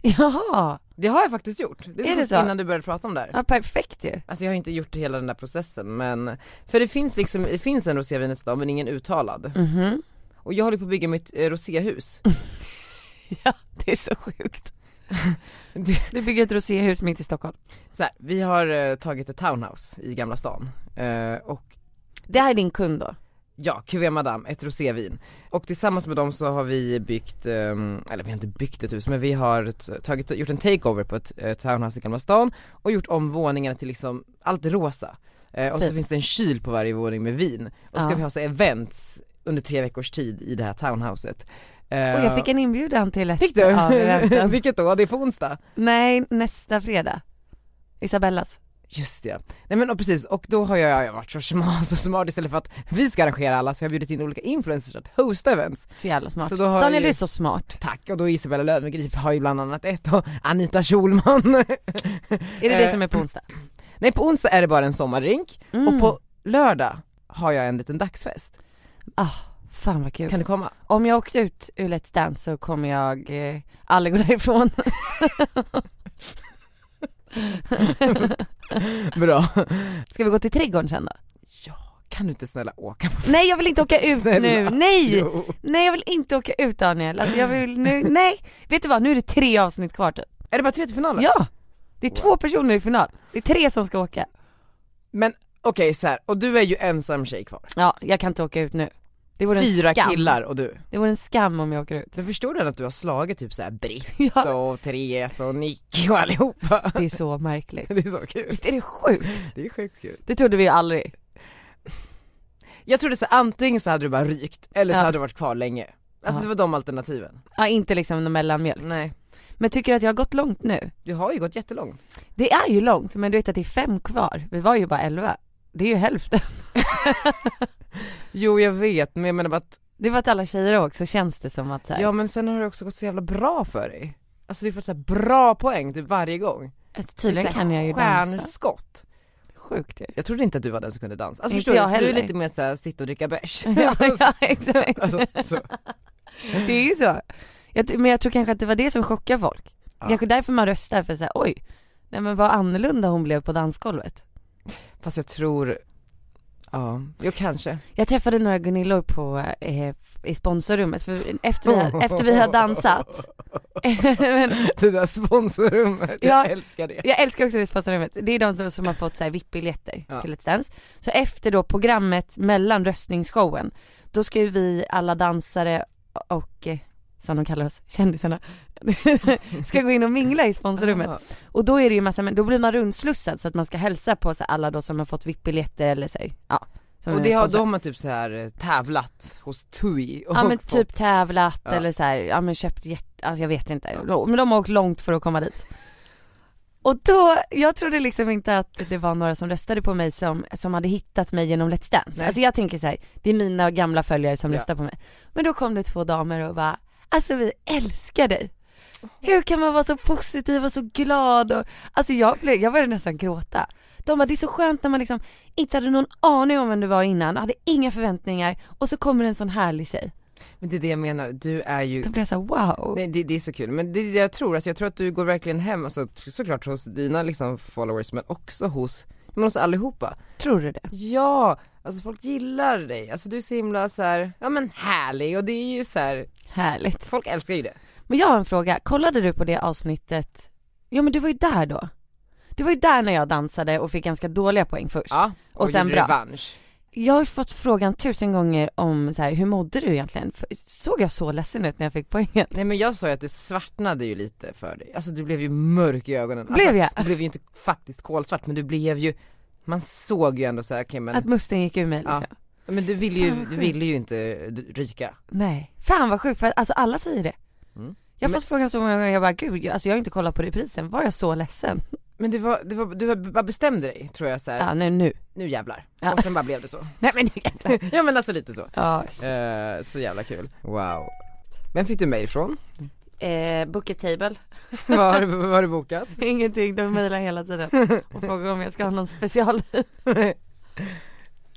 S3: Jaha,
S1: Det har jag faktiskt gjort. Det
S3: Är det
S1: sjukt
S3: så?
S1: Innan du började prata om det här.
S3: ja, perfekt ju.
S1: Alltså jag har inte gjort hela den där processen men, för det finns liksom, det finns en rosévinets dag men ingen uttalad.
S3: Mhm.
S1: Och jag håller på att bygga mitt eh, roséhus.
S3: Ja, det är så sjukt.
S1: Det-
S3: Du bygger ett roséhus mitt i Stockholm.
S1: Så här, vi har eh, tagit ett townhouse i Gamla stan. Eh, och
S3: Det här är din kund då?
S1: Ja, Cuvée Madame, ett rosévin. Och tillsammans med dem så har vi byggt, ehm, eller vi har inte byggt ett hus men vi har t- tagit, gjort en takeover på ett eh, townhouse i Gamla stan och gjort om våningarna till liksom allt rosa. Eh, och så
S3: Fint.
S1: finns det en kyl på varje våning med vin. Och så ska
S3: Ja.
S1: vi ha så här events under tre veckors tid i det här townhouset. Eh,
S3: Och jag fick en inbjudan till ett
S1: Fick du?
S3: <laughs> Ja, vi
S1: <laughs>
S3: väntar.
S1: Vilket då? Det är på onsdag?
S3: Nej, nästa fredag. Isabellas.
S1: Just det. Nej men och precis, och då har jag, jag har varit så smart, så smart istället för att vi ska arrangera alla så har jag bjudit in olika influencers att hosta events.
S3: Så jävla smart.
S1: Så då har
S3: Daniel
S1: ju-
S3: du är så smart.
S1: Tack, och då Isabella Löwengrip har ju bland annat ett och Anita Schulman. <laughs>
S3: Är det det
S1: Eh,
S3: som är på onsdag?
S1: Nej på onsdag är det bara en sommardrink
S3: Mm.
S1: och på lördag har jag en liten dagsfest.
S3: Fan vad kul.
S1: Kan du komma?
S3: Om jag åkte ut ur Let's Dance så kommer jag eh, aldrig gå <laughs> därifrån.
S1: Bra.
S3: Ska vi gå till trädgården sen då?
S1: Kan du inte snälla åka
S3: <laughs>
S1: på
S3: Nej jag vill inte åka ut
S1: Snälla.
S3: nu, nej!
S1: Jo.
S3: Nej jag vill inte åka ut Daniel, alltså jag vill nu, nej! Vet du vad, nu är det tre avsnitt kvar typ.
S1: Är det bara tre till finalen?
S3: Ja! Det är två personer i final, det är tre som ska åka.
S1: Men okej så här. och du är ju ensam tjej kvar.
S3: Ja, jag kan inte åka ut nu. Det vore en
S1: Fyra
S3: skam.
S1: killar och du.
S3: Det vore en skam om jag åker ut. <laughs>
S1: Men förstår du att du har slagit typ såhär Britt
S3: Ja,
S1: och Therese och Nicky och
S3: <laughs>
S1: allihopa?
S3: det är så märkligt.
S1: Det är så kul.
S3: Visst är det sjukt?
S1: Det är sjukt kul.
S3: Det trodde vi ju aldrig.
S1: Jag trodde så här, antingen så hade du bara rykt eller så
S3: Ja.
S1: hade du varit kvar länge. Alltså
S3: Ja.
S1: det var de alternativen.
S3: Ja, inte liksom någon mellanmjölk.
S1: Nej.
S3: Men tycker du att jag har gått långt nu?
S1: Du har ju gått jättelångt.
S3: Det är ju långt, men du vet att det är fem kvar. Vi var ju bara elva. Det är ju hälften. <laughs>
S1: Jo jag vet men jag menar bara att,
S3: Det var att alla tjejer också känns det som att så här,
S1: ja men sen har det också gått så jävla bra för dig. Alltså du har fått så här bra poäng typ varje gång.
S3: att Alltså, tydligen
S1: Så här
S3: kan jag ju dansa.
S1: Stjärnskott. <laughs>
S3: Sjukt <laughs> ju.
S1: Jag trodde inte att du var den som kunde dansa. Alltså
S3: Inte
S1: förstår du,
S3: jag
S1: för du är
S3: heller.
S1: lite mer såhär sitta och dricka bärs.
S3: <laughs> Ja, ja, exakt.
S1: <laughs> alltså, så.
S3: <laughs> Det är ju så. Jag, tr- men jag tror kanske att det var det som chockade folk.
S1: Ja.
S3: Kanske därför man röstar för såhär, oj, nej men vad annorlunda hon blev på dansgolvet.
S1: Fast jag tror, Ja, jo
S3: <laughs>
S1: kanske.
S3: Jag träffade några Gunillor på, eh, i sponsorrummet för efter vi, efter vi har dansat <laughs> Men
S1: Det där sponsorrummet,
S3: Ja.
S1: jag älskar det.
S3: Jag älskar också det sponsorrummet, det är de som, som har fått så här VIP-biljetter
S1: Ja.
S3: till Let's Dance Så efter då programmet mellan röstningsshowen, då ska ju vi alla dansare och, eh, som de kallar oss, kändisarna <laughs> Ska gå in och mingla i sponsorrummet
S1: Ah,
S3: Och då är det ju massa, men då blir man rundslussad så att man ska hälsa på så här alla då som har fått VIP-biljetter eller så här, ja som
S1: Och
S3: är
S1: det har,
S3: sponsor.
S1: då har man typ så här eh, tävlat hos TUI och
S3: Ja men
S1: fått-
S3: typ tävlat
S1: Ja.
S3: eller så här, ja men köpt jätte, alltså jag vet inte, men de har åkt långt för att komma dit. Och då, jag trodde liksom inte att det var några som röstade på mig som, som hade hittat mig genom Let's Dance.
S1: Nej.
S3: Alltså jag tänker så här, det är mina gamla följare som
S1: Ja.
S3: röstar på mig. Men då kom det två damer och bara, alltså vi älskar dig.
S1: Oh.
S3: Hur kan man vara så positiv och så glad och, alltså jag blev, jag började nästan gråta. De bara, det är så skönt när man liksom inte hade någon aning om vem du var innan, hade inga förväntningar och så kommer en sån härlig tjej.
S1: Men det är det jag menar, du är ju
S3: Då blir jag såhär wow.
S1: Nej det, det är så kul, men det är det jag tror, alltså jag tror att du går verkligen hem, alltså t- såklart hos dina liksom followers men också hos, men hos allihopa
S3: Tror du det?
S1: Ja, alltså folk gillar dig, alltså du är så himla så här, ja men härlig och det är ju så här,
S3: Härligt.
S1: folk älskar ju det
S3: Men jag har en fråga, kollade du på det avsnittet? Ja men du var ju där då. Du var ju där när jag dansade och fick ganska dåliga poäng först.
S1: Ja,
S3: Och sen
S1: gjorde
S3: bra.
S1: revansch
S3: Jag har fått frågan tusen gånger om så här, hur mådde du egentligen? För- Såg jag så ledsen ut när jag fick poängen?
S1: Nej men jag sa ju att det svartnade ju lite för dig, alltså du blev ju mörk i ögonen alltså,
S3: Blev jag?
S1: Du blev ju inte faktiskt kolsvart men du blev ju, man såg ju ändå så här, okej men,
S3: Att musten gick ur mig liksom?
S1: men du ville ju,
S3: Fan, vad
S1: du
S3: sjukt.
S1: ville ju inte eh, d- ryka
S3: Nej. Fan vad sjukt, för att, alltså alla säger det.
S1: Mm.
S3: Jag har
S1: Men-
S3: fått frågan så många gånger, jag bara gud, jag- alltså jag har inte kollat på reprisen, var jag så ledsen?
S1: Men det var, det var, du var- bara bestämde dig tror jag så här,
S3: Ja nu, nu.
S1: nu jävlar.
S3: Ja.
S1: Och sen bara blev det <laughs> så.
S3: Nej men nu jävlar.
S1: ja men alltså lite så.
S3: Ja,
S1: Eh, så jävla kul. Wow. Vem fick du mejl från?
S3: eh, bucket table.
S1: Vad har, du- vad har du bokat?
S3: <laughs> Ingenting, de mejlar hela tiden och frågar om jag ska ha någon special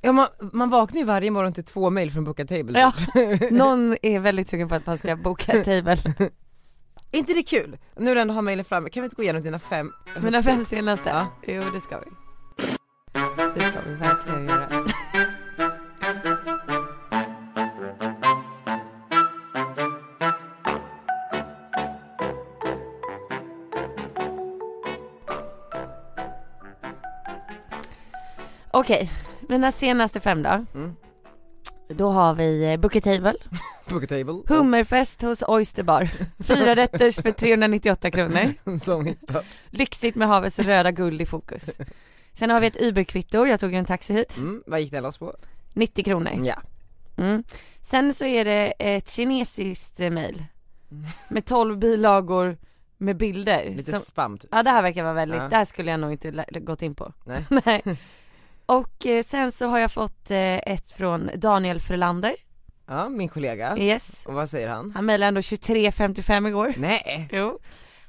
S1: Ja man, man vaknar ju varje morgon till två mejl från Bookatable Table.
S3: Ja, någon är väldigt sugen på att man ska boka table
S1: Är inte det kul? Nu när du ändå har mejlen framme, kan vi inte gå igenom dina fem
S3: Mina fem senaste,
S1: Ja.
S3: jo det ska vi Det ska vi verkligen göra Okej, mina senaste fem då
S1: Mm.
S3: Då har vi eh, Booker Table
S1: Bookatable
S3: Hummerfest hos Oysterbar. Fyra rätters för 398 kronor.
S1: som hittat.
S3: Lyxigt med havets röda guld i fokus. Sen har vi ett Uber-kvitto, jag tog ju en taxi hit.
S1: Mm, vad gick det loss på?
S3: 90 kronor.
S1: Ja.
S3: Mm. Sen så är det ett kinesiskt eh, mail. Med 12 bilagor med bilder.
S1: Mm. Lite
S3: som-
S1: spam typ.
S3: Ja det här verkar vara väldigt,
S1: Ja.
S3: det här skulle jag nog inte lä- gått in på. <laughs>
S1: Nej.
S3: Och eh, sen så har jag fått eh, ett från Daniel Frölander.
S1: Ja, min kollega.
S3: Yes.
S1: Och vad säger han?
S3: Han mejlade ändå 23.55 igår.
S1: Nej!
S3: Jo.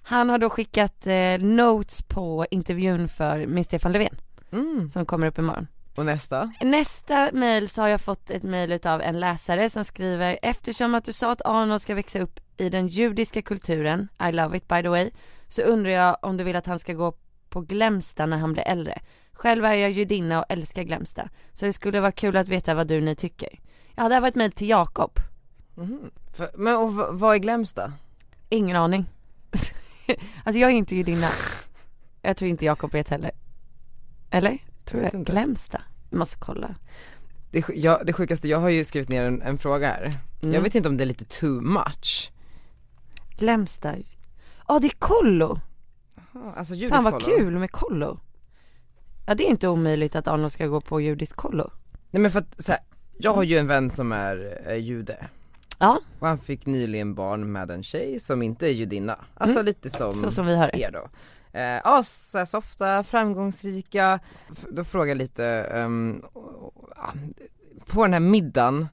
S3: Han har då skickat eh, notes på intervjun för med Stefan Löfven
S1: Mm.
S3: som kommer upp imorgon.
S1: Och nästa?
S3: Nästa mail så har jag fått ett mail av en läsare som skriver eftersom att du sa att Arnold ska växa upp i den judiska kulturen, I love it by the way, så undrar jag om du vill att han ska gå på Glämsta när han blir äldre. Själv är jag judinna och älskar Glämsta, så det skulle vara kul att veta vad du ni tycker. Ja, det här var ett mail till Jakob.
S1: Mhm. För- Men och v- vad är Glämsta?
S3: Ingen aning. <laughs> alltså jag är inte judinna. Jag tror inte Jakob vet heller. Eller? Tror
S1: Vet
S3: jag.
S1: inte.
S3: Glämsta. Vi måste kolla.
S1: Det, sj- jag, det sjukaste, jag har ju skrivit ner en, en fråga här.
S3: Mm.
S1: Jag vet inte om det är lite too much.
S3: Glämsta. Ja det är kollo.
S1: Alltså judisk
S3: Fan vad
S1: kollo.
S3: kul med kollo. Ja det är inte omöjligt att Arnold ska gå på judiskt kollo.
S1: Nej men för att så här, jag har ju en vän som är eh, jude.
S3: Ja.
S1: Och han fick nyligen barn med en tjej som inte är judinna. Alltså lite som,
S3: Mm. Så som vi har det.
S1: er då. Eh, ja, så här softa, framgångsrika. F- då frågar jag lite, ehm, ja, på den här middagen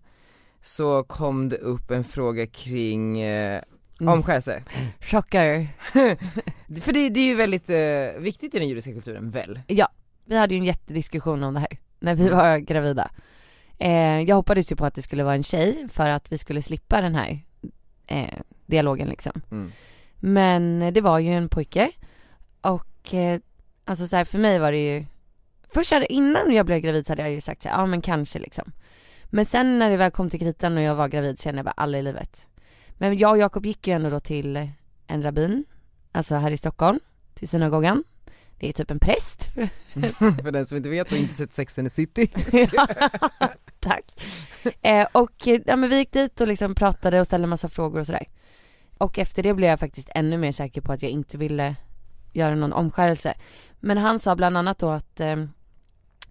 S1: så kom det upp en fråga kring eh,
S3: Mm.
S1: omskärelse. <laughs>
S3: Chocker.
S1: För det, det är ju väldigt eh, viktigt i den judiska kulturen, väl?
S3: Vi hade ju en jättediskussion om det här när vi var gravida. Eh, jag hoppades ju på att det skulle vara en tjej för att vi skulle slippa den här eh, dialogen liksom. Men det var ju en pojke och eh, alltså så här, för mig var det ju Först hade, innan jag blev gravid så hade jag ju sagt såhär, ja men kanske liksom. Men sen när det väl kom till kritan och jag var gravid kände jag bara aldrig i livet. Men jag och Jakob gick ju ändå då till en rabbin, alltså här i Stockholm, till synagogan. Det är typ en präst.
S1: Mm. <laughs> För den som inte vet och inte sett Sex and the City.
S3: <laughs> Tack. Eh, och eh, ja, men vi gick dit och liksom pratade och ställde massa frågor och sådär. Och efter det blev jag faktiskt ännu mer säker på att jag inte ville göra någon omskärelse. Men han sa bland annat då att eh,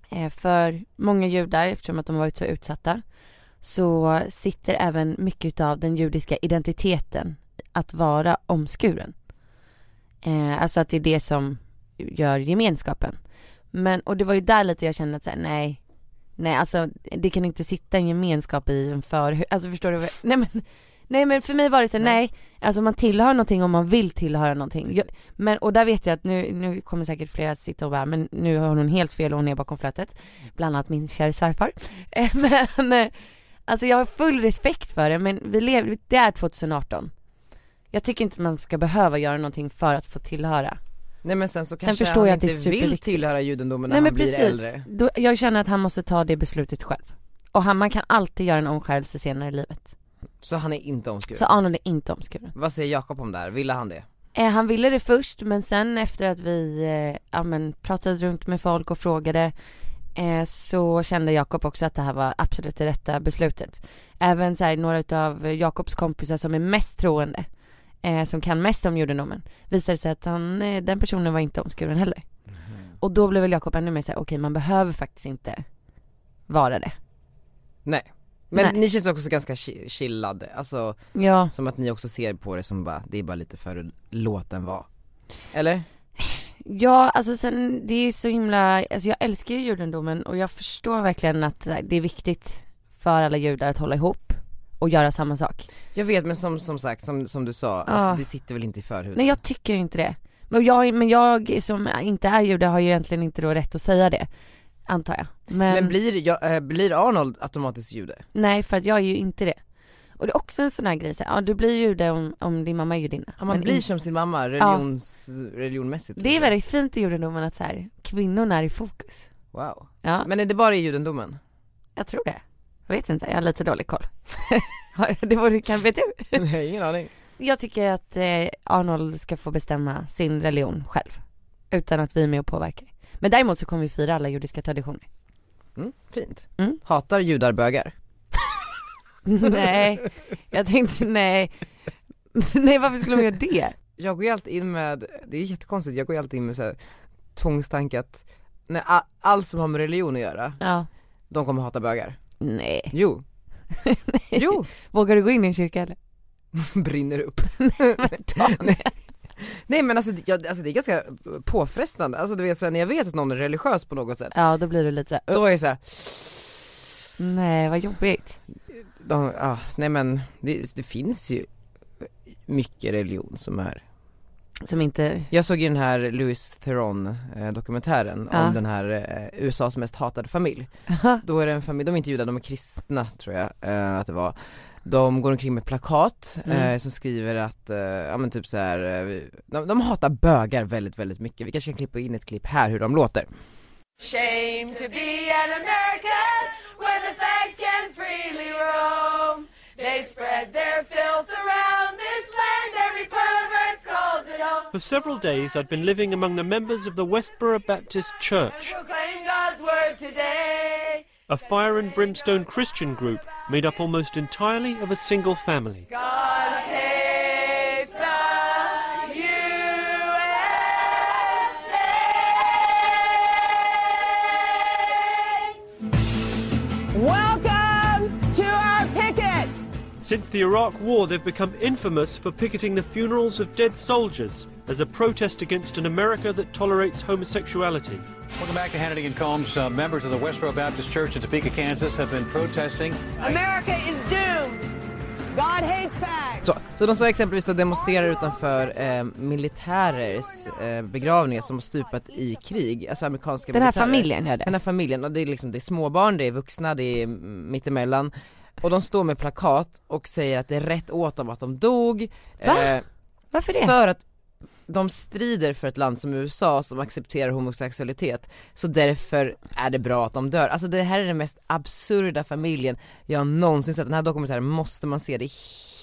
S3: eh, för många judar, eftersom att de har varit så utsatta, så sitter även mycket av den judiska identiteten att vara omskuren. Eh, alltså att det är det som gör gemenskapen. Men, och det var ju där lite jag kände att så här, nej, Nej alltså det kan inte sitta en gemenskap i en för alltså förstår du vad- nej men Nej men för mig var det så här, nej. alltså man tillhör någonting om man vill tillhöra någonting. Jag, men och där vet jag att nu, nu kommer säkert flera att sitta och bara, men nu har hon helt fel och hon är bakom flötet. Bland annat min kära svärfar. <laughs> Eh, Men eh, alltså jag har full respekt för det men vi lever, det är 2018. Jag tycker inte man ska behöva göra någonting för att få tillhöra.
S1: Nej men sen så kanske
S3: förstår
S1: han
S3: jag att det är
S1: inte vill
S3: superviktigt.
S1: tillhöra judendomen när han blir äldre.
S3: Då, jag känner att han måste ta det beslutet själv. Och han, man kan alltid göra en omskärelse senare i livet.
S1: Så han är inte omskuren.
S3: Så Arnold är inte omskuren.
S1: Vad säger Jakob om det här? Ville han det?
S3: Eh, han ville det först men sen efter att vi eh, ja, men, pratade runt med folk och frågade eh, så kände Jakob också att det här var absolut det rätta beslutet. Även så här, några av Jakobs kompisar som är mest troende, eh, som kan mest om judendomen, visade sig att han, eh, den personen var inte omskuren heller. Och då blev väl Jakob ännu mer såhär, okej man behöver faktiskt inte vara det.
S1: Nej. Men
S3: Nej.
S1: ni känns också ganska chi- chillade, alltså
S3: Ja,
S1: som att ni också ser på det som bara, det är bara lite för att låt den vara. Eller?
S3: ja alltså sen det är så himla, alltså jag älskar ju judendomen och jag förstår verkligen att så här, det är viktigt för alla judar att hålla ihop och göra samma sak.
S1: Jag vet men som, som sagt, som, som du sa,
S3: Ah.
S1: alltså, det sitter väl inte i förhuden?
S3: Nej jag tycker inte det. Men jag, men jag som inte är jude har ju egentligen inte då rätt att säga det. Antar jag. Men,
S1: Men blir, jag, eh, blir Arnold automatiskt jude?
S3: nej för att jag är ju inte det. Och det är också en sån här grej så här, ja du blir jude om, om din mamma är judinna.
S1: Ja, man
S3: Men
S1: blir
S3: in-
S1: som sin mamma, religions, religionmässigt
S3: det är
S1: liksom.
S3: väldigt fint i judendomen att så här, kvinnorna är i fokus.
S1: Wow.
S3: Ja,
S1: Men är det bara i judendomen?
S3: jag tror det. Jag vet inte, jag har lite dålig koll. <laughs> Har- det vore, kan, vet du?
S1: <laughs> Nej ingen aning
S3: Jag tycker att eh, Arnold ska få bestämma sin religion själv. Utan att vi är med och påverkar. Men däremot så kommer vi fira alla judiska traditioner. <laughs>
S1: mm, Fint.
S3: Mm.
S1: Hatar judar bögar?
S3: Nej, jag tänkte nej. <laughs> Nej varför skulle de göra det?
S1: Jag går ju alltid in med, det är jättekonstigt, jag går ju alltid in med så här tvångstanke att nej, a- allt som har med religion att göra,
S3: Ja.
S1: de kommer hata bögar.
S3: <laughs> Nej.
S1: Jo, jo, <laughs>
S3: Vågar du gå in i en kyrka eller?
S1: brinner
S3: <laughs>
S1: upp. <laughs> nej. nej men alltså, det- jag, alltså det är ganska påfrestande, alltså du vet så här, när jag vet att någon är religiös på något sätt,
S3: Ja då blir du lite så här,
S1: då är jag så här,
S3: nej vad jobbigt.
S1: de, ah, nej men det, det finns ju mycket religion som är
S3: Som inte,
S1: Jag såg ju den här Louis Theron eh, dokumentären
S3: Ja.
S1: om den här eh, USAs mest hatade familj. Då är det en familj, de är inte judar, de är kristna tror jag eh, att det var. De går omkring med plakat eh,
S3: Mm.
S1: som skriver att, eh, ja men typ så här, eh, vi- de, de hatar bögar väldigt väldigt mycket. Vi kanske kan klippa in ett klipp här hur de låter.
S6: Shame to be an American where the fags can freely roam. They spread their filth around this land, every pervert calls it home.
S7: For several days, I'd been living among the members of the Westboro Baptist Church,
S6: Proclaim God's word today.
S7: a fire and brimstone Christian group made up almost entirely of a single family.
S6: God hates the USA. Welcome to our picket.
S7: Since the Iraq War, they've become infamous for picketing the funerals of dead soldiers as a protest against an America that tolerates homosexuality.
S8: Welcome back to Hannity and Combs. Uh, members of the Westboro Baptist Church in Topeka, Kansas have been protesting
S6: America is doomed. God hates fags.
S1: Så, så de som exempelvis så demonstrerar utanför eh, militärers eh, begravningar som har stupat i krig, alltså amerikanska
S3: den här
S1: militärer.
S3: familjen gör
S1: Den
S3: det.
S1: här familjen, och det är liksom, det är småbarn, det är vuxna, det är mm, mittemellan Och de står med plakat och säger att det är rätt åt dem att de dog
S3: Va?
S1: eh,
S3: Varför det?
S1: För att de strider för ett land som USA som accepterar homosexualitet så därför är det bra att de dör. Alltså det här är den mest absurda familjen jag någonsin sett. Den här dokumentären måste man se, det är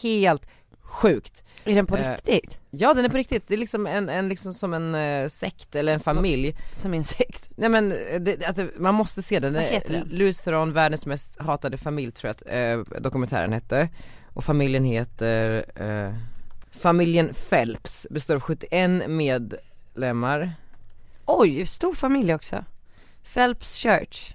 S1: helt sjukt.
S9: Är den på
S3: Eh.
S9: riktigt?
S1: Ja den är på riktigt, det är liksom en, en liksom som en eh, sekt eller en familj.
S9: Som en sekt?
S1: Nej men eh, det, att det, man måste se den.
S9: Vad heter den?
S1: Louis Theron, världens mest hatade familj tror jag att eh, dokumentären hette. Och familjen heter eh, Familjen Phelps, består av 71 medlemmar.
S9: Oj, stor familj också. Phelps Church.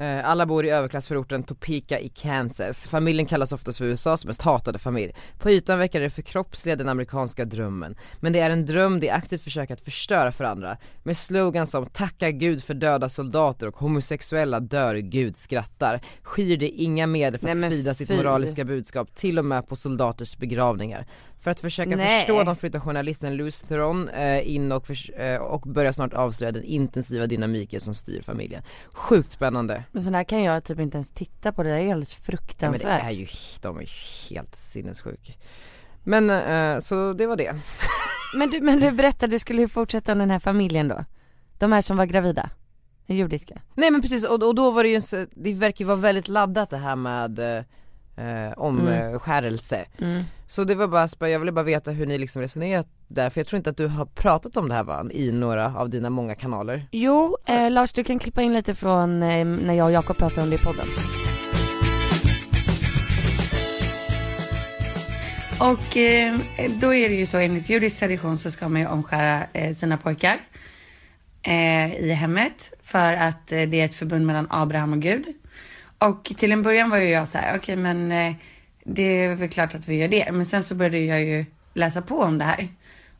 S1: Eh, Alla bor i överklassförorten Topeka i Kansas. Familjen kallas oftast för USAs mest hatade familj. På ytan verkar det förkroppsliga den amerikanska drömmen. Men det är en dröm de aktivt försöker att förstöra för andra. Med slogan som “Tacka Gud för döda soldater” och “Homosexuella dör, Gud skrattar” skyr de inga medel för att
S9: Nej, men
S1: sprida sitt
S9: fy.
S1: moraliska budskap, till och med på soldaters begravningar. För att försöka
S9: Nej.
S1: förstå dem flyttar journalisten Louis Theron eh, in och, förs- eh, och börjar snart avslöja den intensiva dynamiken som styr familjen. Sjukt spännande!
S9: Men sån här kan jag typ inte ens titta på, det där är ju alldeles
S1: Ja, men det
S9: fruktansvärt.
S1: är ju, de är ju helt sinnessjuka. Men eh, så det var det.
S9: Men du, men du berättade, du skulle ju fortsätta om den här familjen då? De här som var gravida? Den judiska?
S1: Nej men precis och, och då var det ju, en så- det verkar ju vara väldigt laddat det här med eh, omskärelse.
S9: Mm.
S1: Så det var bara, spö- jag ville bara veta hur ni liksom resonerat där, för jag tror inte att du har pratat om det här va, i några av dina många kanaler.
S9: Jo, eh, Lars du kan klippa in lite från eh, när jag och Jakob pratade om det i podden.
S3: Och eh, då är det ju så enligt judisk tradition så ska man ju omskära eh, sina pojkar eh, i hemmet för att eh, det är ett förbund mellan Abraham och Gud. Och till en början var ju jag så här, okej men eh, det är väl klart att vi gör det. Men sen så började jag ju läsa på om det här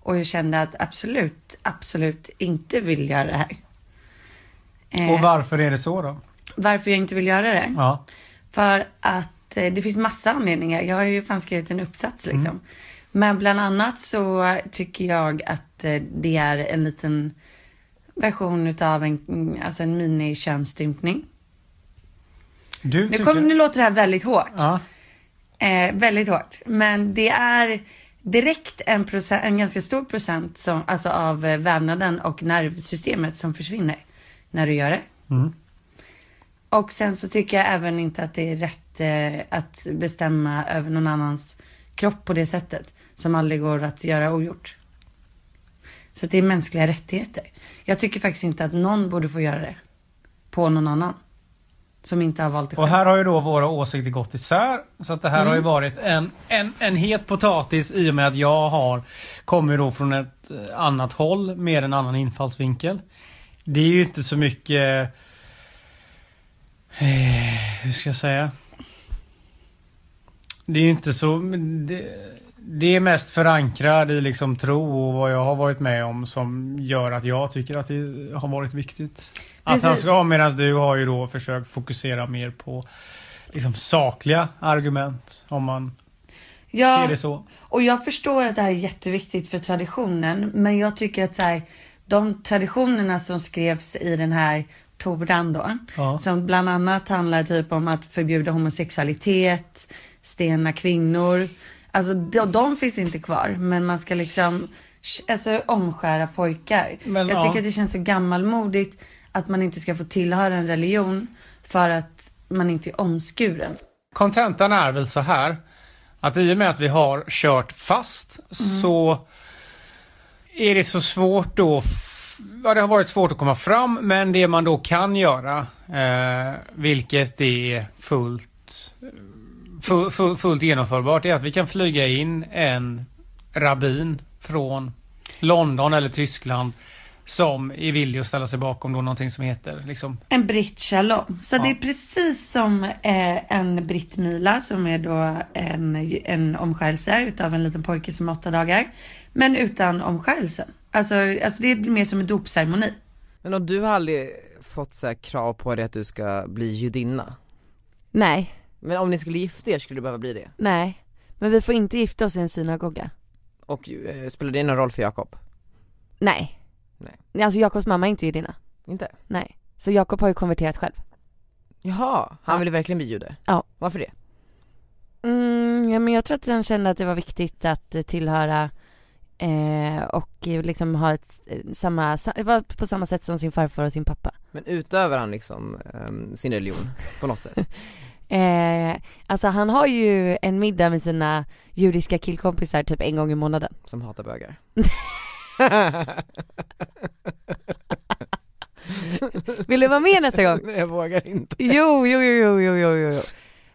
S3: och jag kände att absolut, absolut inte vill göra det här. Eh,
S10: Och varför är det så då?
S3: varför jag inte vill göra det?
S10: Ja.
S3: För att eh, det finns massa anledningar. Jag har ju fan skrivit en uppsats liksom.
S10: Mm.
S3: Men bland annat så tycker jag att eh, det är en liten version utav en, mm, alltså en mini-könsstympning.
S10: Du
S3: Nu,
S10: tycker...
S3: kom, nu låter det här väldigt hårt.
S10: Ja.
S3: Eh, väldigt hårt. Men det är direkt en, procent, en ganska stor procent som, alltså av eh, vävnaden och nervsystemet som försvinner när du gör det.
S10: Mm.
S3: Och sen så tycker jag även inte att det är rätt eh, att bestämma över någon annans kropp på det sättet. Som aldrig går att göra ogjort. Så att det är mänskliga rättigheter. Jag tycker faktiskt inte att någon borde få göra det. På någon annan. Som inte har valt det
S10: Och
S3: själv.
S10: här har ju då våra åsikter gått isär. Så att det här
S3: Mm.
S10: har ju varit en, en, en het potatis i och med att jag har kommer då från ett eh, annat håll med en annan infallsvinkel. Det är ju inte så mycket... eh, Hur ska jag säga? Det är ju inte så... men Det, det är mest förankrad i liksom tro och vad jag har varit med om som gör att jag tycker att det har varit viktigt. Att han
S3: Precis.
S10: ska medan du har ju då försökt fokusera mer på liksom sakliga argument om man ser det så.
S3: Och jag förstår att det här är jätteviktigt för traditionen. Men jag tycker att så här, de traditionerna som skrevs i den här Toran då.
S10: Ja.
S3: Som bland annat handlar typ om att förbjuda homosexualitet, stena kvinnor. Alltså de, de finns inte kvar. Men man ska liksom sh- alltså, omskära pojkar.
S10: Men,
S3: jag
S10: ja.
S3: tycker att det känns så gammalmodigt att man inte ska få tillhöra en religion för att man inte är omskuren.
S10: Kontentan är väl så här att i och med att vi har kört fast så är det så svårt då f- Ja, det har varit svårt att komma fram men det man då kan göra eh, vilket är fullt fu- fu- fullt genomförbart är att vi kan flyga in en rabbin från London eller Tyskland som är villig att ställa sig bakom då någonting som heter liksom
S3: En britt shalom. Så
S10: Ja.
S3: det är precis som eh, en britt mila som är då en, en omskärelse utav en liten pojke som är åtta dagar. Men utan omskärelsen. Alltså, alltså det är mer som en dopceremoni.
S1: Men om du har aldrig fått så här krav på dig att du ska bli judinna?
S9: Nej,
S1: Men om ni skulle gifta er skulle du behöva bli det?
S9: nej. Men vi får inte gifta oss i en synagoga.
S1: Och eh, spelar det någon roll för Jakob?
S9: Nej.
S1: Nej.
S9: Alltså Jakobs mamma är inte judinna.
S1: Inte?
S9: Nej. Så Jakob har ju konverterat själv.
S1: Jaha, han ville verkligen bli jude?
S9: Ja.
S1: Varför det?
S9: Mm, ja, men jag tror att han kände att det var viktigt att eh, tillhöra eh, och liksom ha ett, samma, sa- vara på samma sätt som sin farfar och sin pappa.
S1: Men utövar han liksom ehm, sin religion på något <laughs> sätt?
S9: Eh, alltså han har ju en middag med sina judiska killkompisar typ en gång i månaden.
S1: Som hatar bögar?
S9: Vill du vara med nästa gång?
S1: <laughs> <laughs> Nej jag vågar inte
S9: Jo, jo, jo, jo, jo, jo, jo.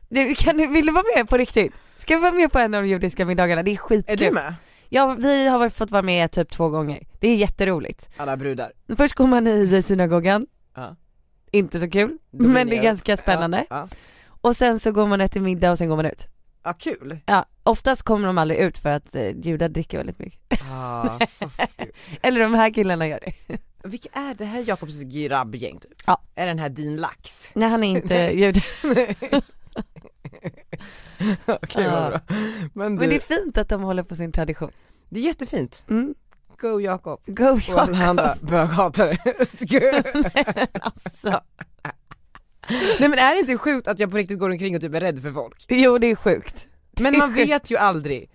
S9: Du, kan, du- vill du vara med på riktigt? Ska vi vara med på en av de judiska middagarna? Det är skitkul.
S1: Är du med?
S9: Ja, vi har varit- fått vara med typ två gånger. Det är jätteroligt.
S1: Alla brudar?
S9: Först går man i synagogan,
S1: Ja.
S9: inte så kul,
S1: Då blir
S9: men det
S1: ni-
S9: är ganska spännande.
S1: Ja,
S9: Och sen så går man äter middag och sen går man ut.
S1: ja. Ah, kul!
S9: Ja, oftast kommer de aldrig ut för att eh, judar dricker väldigt mycket. <laughs>
S1: <laughs> Ah, soft ju.
S9: Eller de här killarna gör det.
S1: Vilka är det här Jakobs grabbgäng typ?
S9: Ja.
S1: Är den här din <laughs> lax?
S9: Nej han är inte jude.
S1: Nej. Okej
S9: Ja.
S1: vad bra. Ah. Men,
S9: Men,
S1: du,
S9: det är fint att de håller på sin tradition.
S1: det är jättefint.
S9: Mm.
S1: Go Jakob.
S9: Go
S1: Och alla andra
S9: Jakob.
S1: böghatare. <laughs>
S9: alltså.
S1: Nej men är det inte sjukt att jag på riktigt går omkring och typ är rädd för folk?
S9: Jo det är sjukt.
S1: Men
S9: Det är <laughs>
S1: man
S9: sjukt.
S1: vet ju aldrig.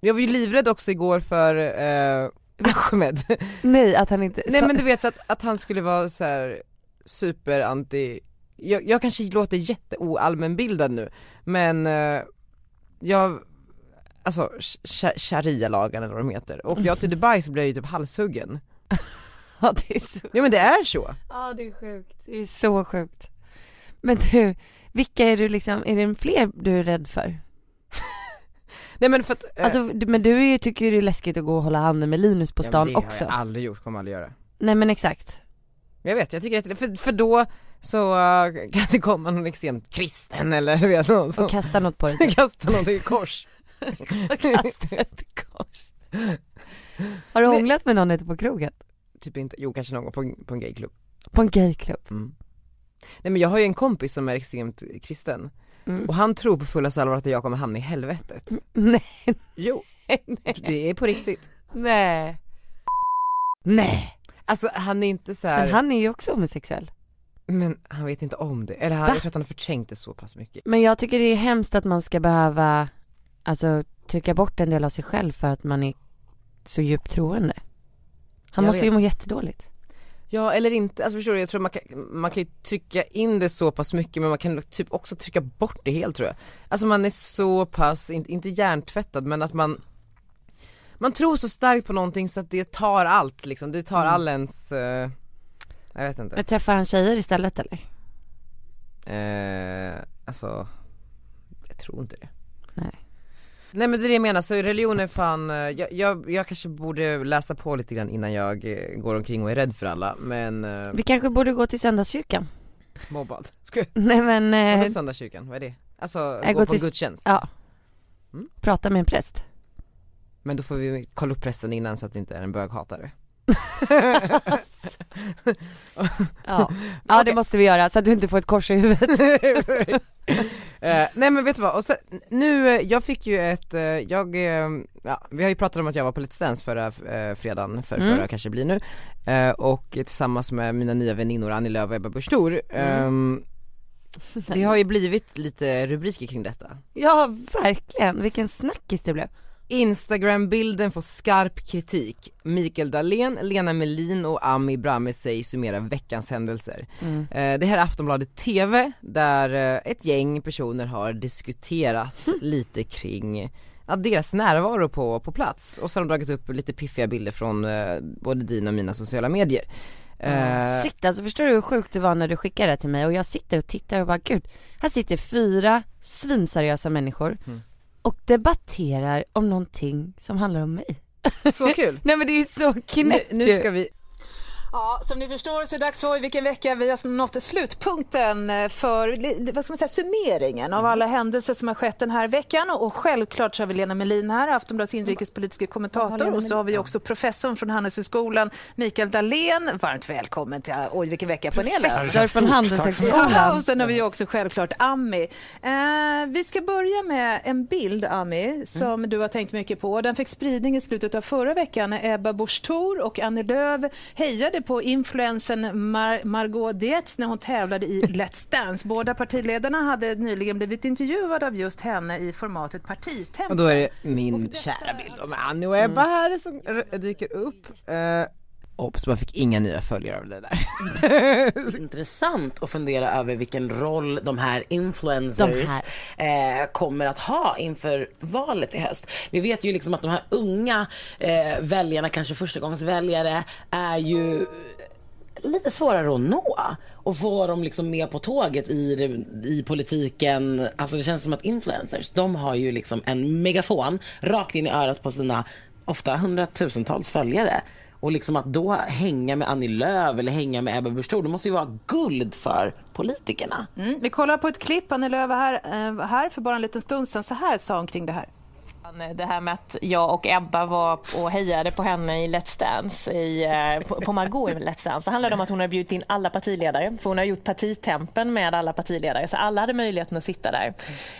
S1: Jag var ju livrädd också igår för eh, Ahmed.
S9: <laughs> Nej att han inte,
S1: Nej
S9: så-
S1: men du vet så att, att han skulle vara så här superanti, jag, jag kanske låter jätteoallmänbildad nu men eh, jag, alltså sh- sharia-lagen eller vad de heter och jag till Dubai så blev jag ju typ halshuggen.
S9: <laughs> ja det är så,
S1: Ja men det är så.
S9: ja det är sjukt, det är så sjukt. Men du, vilka är du liksom, är det fler du är rädd för?
S1: Nej men för att, eh,
S9: Alltså du- men du är, ju- tycker ju det är läskigt att gå och hålla handen med Linus på
S1: ja, men
S9: stan
S1: det
S9: också.
S1: har jag aldrig gjort, kommer aldrig göra.
S9: Nej men exakt.
S1: Jag vet, jag tycker att, för, för då så eh, kan det komma någon extremt kristen eller du vet någon som
S9: Och kasta
S1: <laughs>
S9: något på dig. typ.
S1: kastar någonting i kors.
S9: Och <laughs> kasta ett kors. Har du
S1: Nej.
S9: hånglat med någon ute på krogen?
S1: typ inte, jo kanske någon gång på, en- på en gayklubb.
S9: På en gayklubb?
S1: Mm. Nej men jag har ju en kompis som är extremt kristen
S9: Mm.
S1: och han tror på fullaste allvar att jag kommer hamna i helvetet.
S9: Nej,
S1: Jo,
S9: nej,
S1: <laughs> det är på riktigt.
S9: nej. Nej.
S1: Alltså han är inte så här,
S9: Men han är ju också homosexuell.
S1: men han vet inte om det. Eller han,
S9: Va?
S1: jag tror att han har förträngt det så pass mycket.
S9: Men jag tycker det är hemskt att man ska behöva, alltså trycka bort en del av sig själv för att man är så djupt troende. Han
S1: Jag
S9: måste ju
S1: vet.
S9: må jättedåligt.
S1: Ja eller inte, alltså förstår du, jag tror man kan, man kan ju trycka in det så pass mycket men man kan typ också trycka bort det helt tror jag. Alltså man är så pass, in, inte hjärntvättad men att man man tror så starkt på någonting så att det tar allt liksom, det tar
S9: Mm.
S1: all ens, eh, jag vet inte.
S9: Men träffar han tjejer istället eller?
S1: Eh, alltså, jag tror inte det.
S9: Nej.
S1: Nej men det är det jag menar, så religion är fan, eh, jag, jag, jag kanske borde läsa på lite grann innan jag eh, går omkring och är rädd för alla men eh,
S9: Vi kanske borde gå till söndagskyrkan. <laughs>
S1: mobbad. Ska jag,
S9: Nej men,
S1: vadå
S9: eh,
S1: söndagskyrkan, vad är det? Alltså
S9: jag
S1: gå
S9: går
S1: på
S9: till-
S1: gudstjänst?
S9: ja.
S1: Mm.
S9: Prata med en präst.
S1: Men då får vi kolla upp prästen innan så att det inte är en
S9: <laughs>
S1: böghatare.
S9: Ja, <laughs> ja
S1: Okej.
S9: det måste vi göra så att du inte får ett kors i huvudet.
S1: Eh, nej men vet du vad, och sen, nu, eh, jag fick ju ett, eh, jag, eh, ja, vi har ju pratat om att jag var på Let's Dance förra eh, fredagen, för
S9: Mm.
S1: förra kanske blir nu, eh, och tillsammans med mina nya väninnor Annie Lööf och Ebba Busch Thor,
S9: Mm.
S1: ehm, det har ju blivit lite rubriker kring detta.
S9: <laughs> Ja verkligen, vilken snackis det blev.
S1: Instagram-bilden får skarp kritik, Mikael Dahlén, Lena Melin och Ami Brahmi sig summera veckans händelser.
S9: Mm.
S1: Eh, Det här är Aftonbladet TV där eh, ett gäng personer har diskuterat lite kring ja, deras närvaro på, på plats och så har de dragit upp lite piffiga bilder från eh, både dina och mina sociala medier. Eh,
S9: Shit alltså förstår du hur sjukt det var när du skickade det till mig och jag sitter och tittar och bara gud, här sitter fyra svinseriösa människor
S1: Mm.
S9: och debatterar om någonting som handlar om mig.
S1: så kul!
S9: Nej men det är
S1: <laughs>
S9: så
S1: Nu,
S9: knäppt
S1: nu
S9: ju.
S1: ska vi,
S3: Ja, som ni förstår så är det dags för vilken vecka vi har nått slutpunkten eh, för li- vad ska man säga, summeringen av alla händelser som har skett den här veckan. Och självklart så har vi Lena Melin här, Aftonbladets inrikespolitiska kommentator. Och så Mm. har vi också professorn från Handelshögskolan, Mikael Dahlén. Varmt välkommen till eh, Oj vilken vecka-panelen.
S9: Professor från
S3: Ja,
S9: Handelshögskolan.
S3: och sen har vi ju också självklart Ami. Eh, vi ska börja med en bild, Ami, som du har tänkt mycket på. Den fick spridning i slutet av förra veckan när Ebba Busch Thor och Annie Lööf hejade
S4: på influensen Mar Margot Dietz när hon tävlade i Let's Dance. Båda partiledarna hade nyligen blivit intervjuade av just henne i formatet Partitempo.
S1: Och då är det min kära bild av Annie och Ebba här som r- dyker upp. Eh, Obs, man fick inga nya följare av
S5: <laughs>
S1: det där.
S11: Intressant att fundera över vilken roll de här influencers Eh, kommer att ha inför valet i höst. Vi vet ju liksom att de här unga eh, väljarna, kanske förstagångsväljare, är ju lite svårare att nå och få dem liksom med på tåget i, det- i politiken. Alltså det känns som att influencers, de har ju liksom en megafon rakt in i örat på sina ofta hundratusentals följare. Och liksom att då hänga med Annie Lööf eller hänga med Ebba Busch Thor, det måste ju vara guld för politikerna.
S4: Mm, vi kollar på ett klipp. Annie Lööf var här, eh, var här för bara en liten stund sedan. Så här sa hon kring det här.
S9: Det här med att jag och Ebba var och hejade på henne i Let's Dance, i, eh, på- på Margot i Let's Dance. Det handlade om att hon hade bjudit in alla partiledare, för hon har gjort partitempen med alla partiledare, så alla hade möjligheten att sitta där.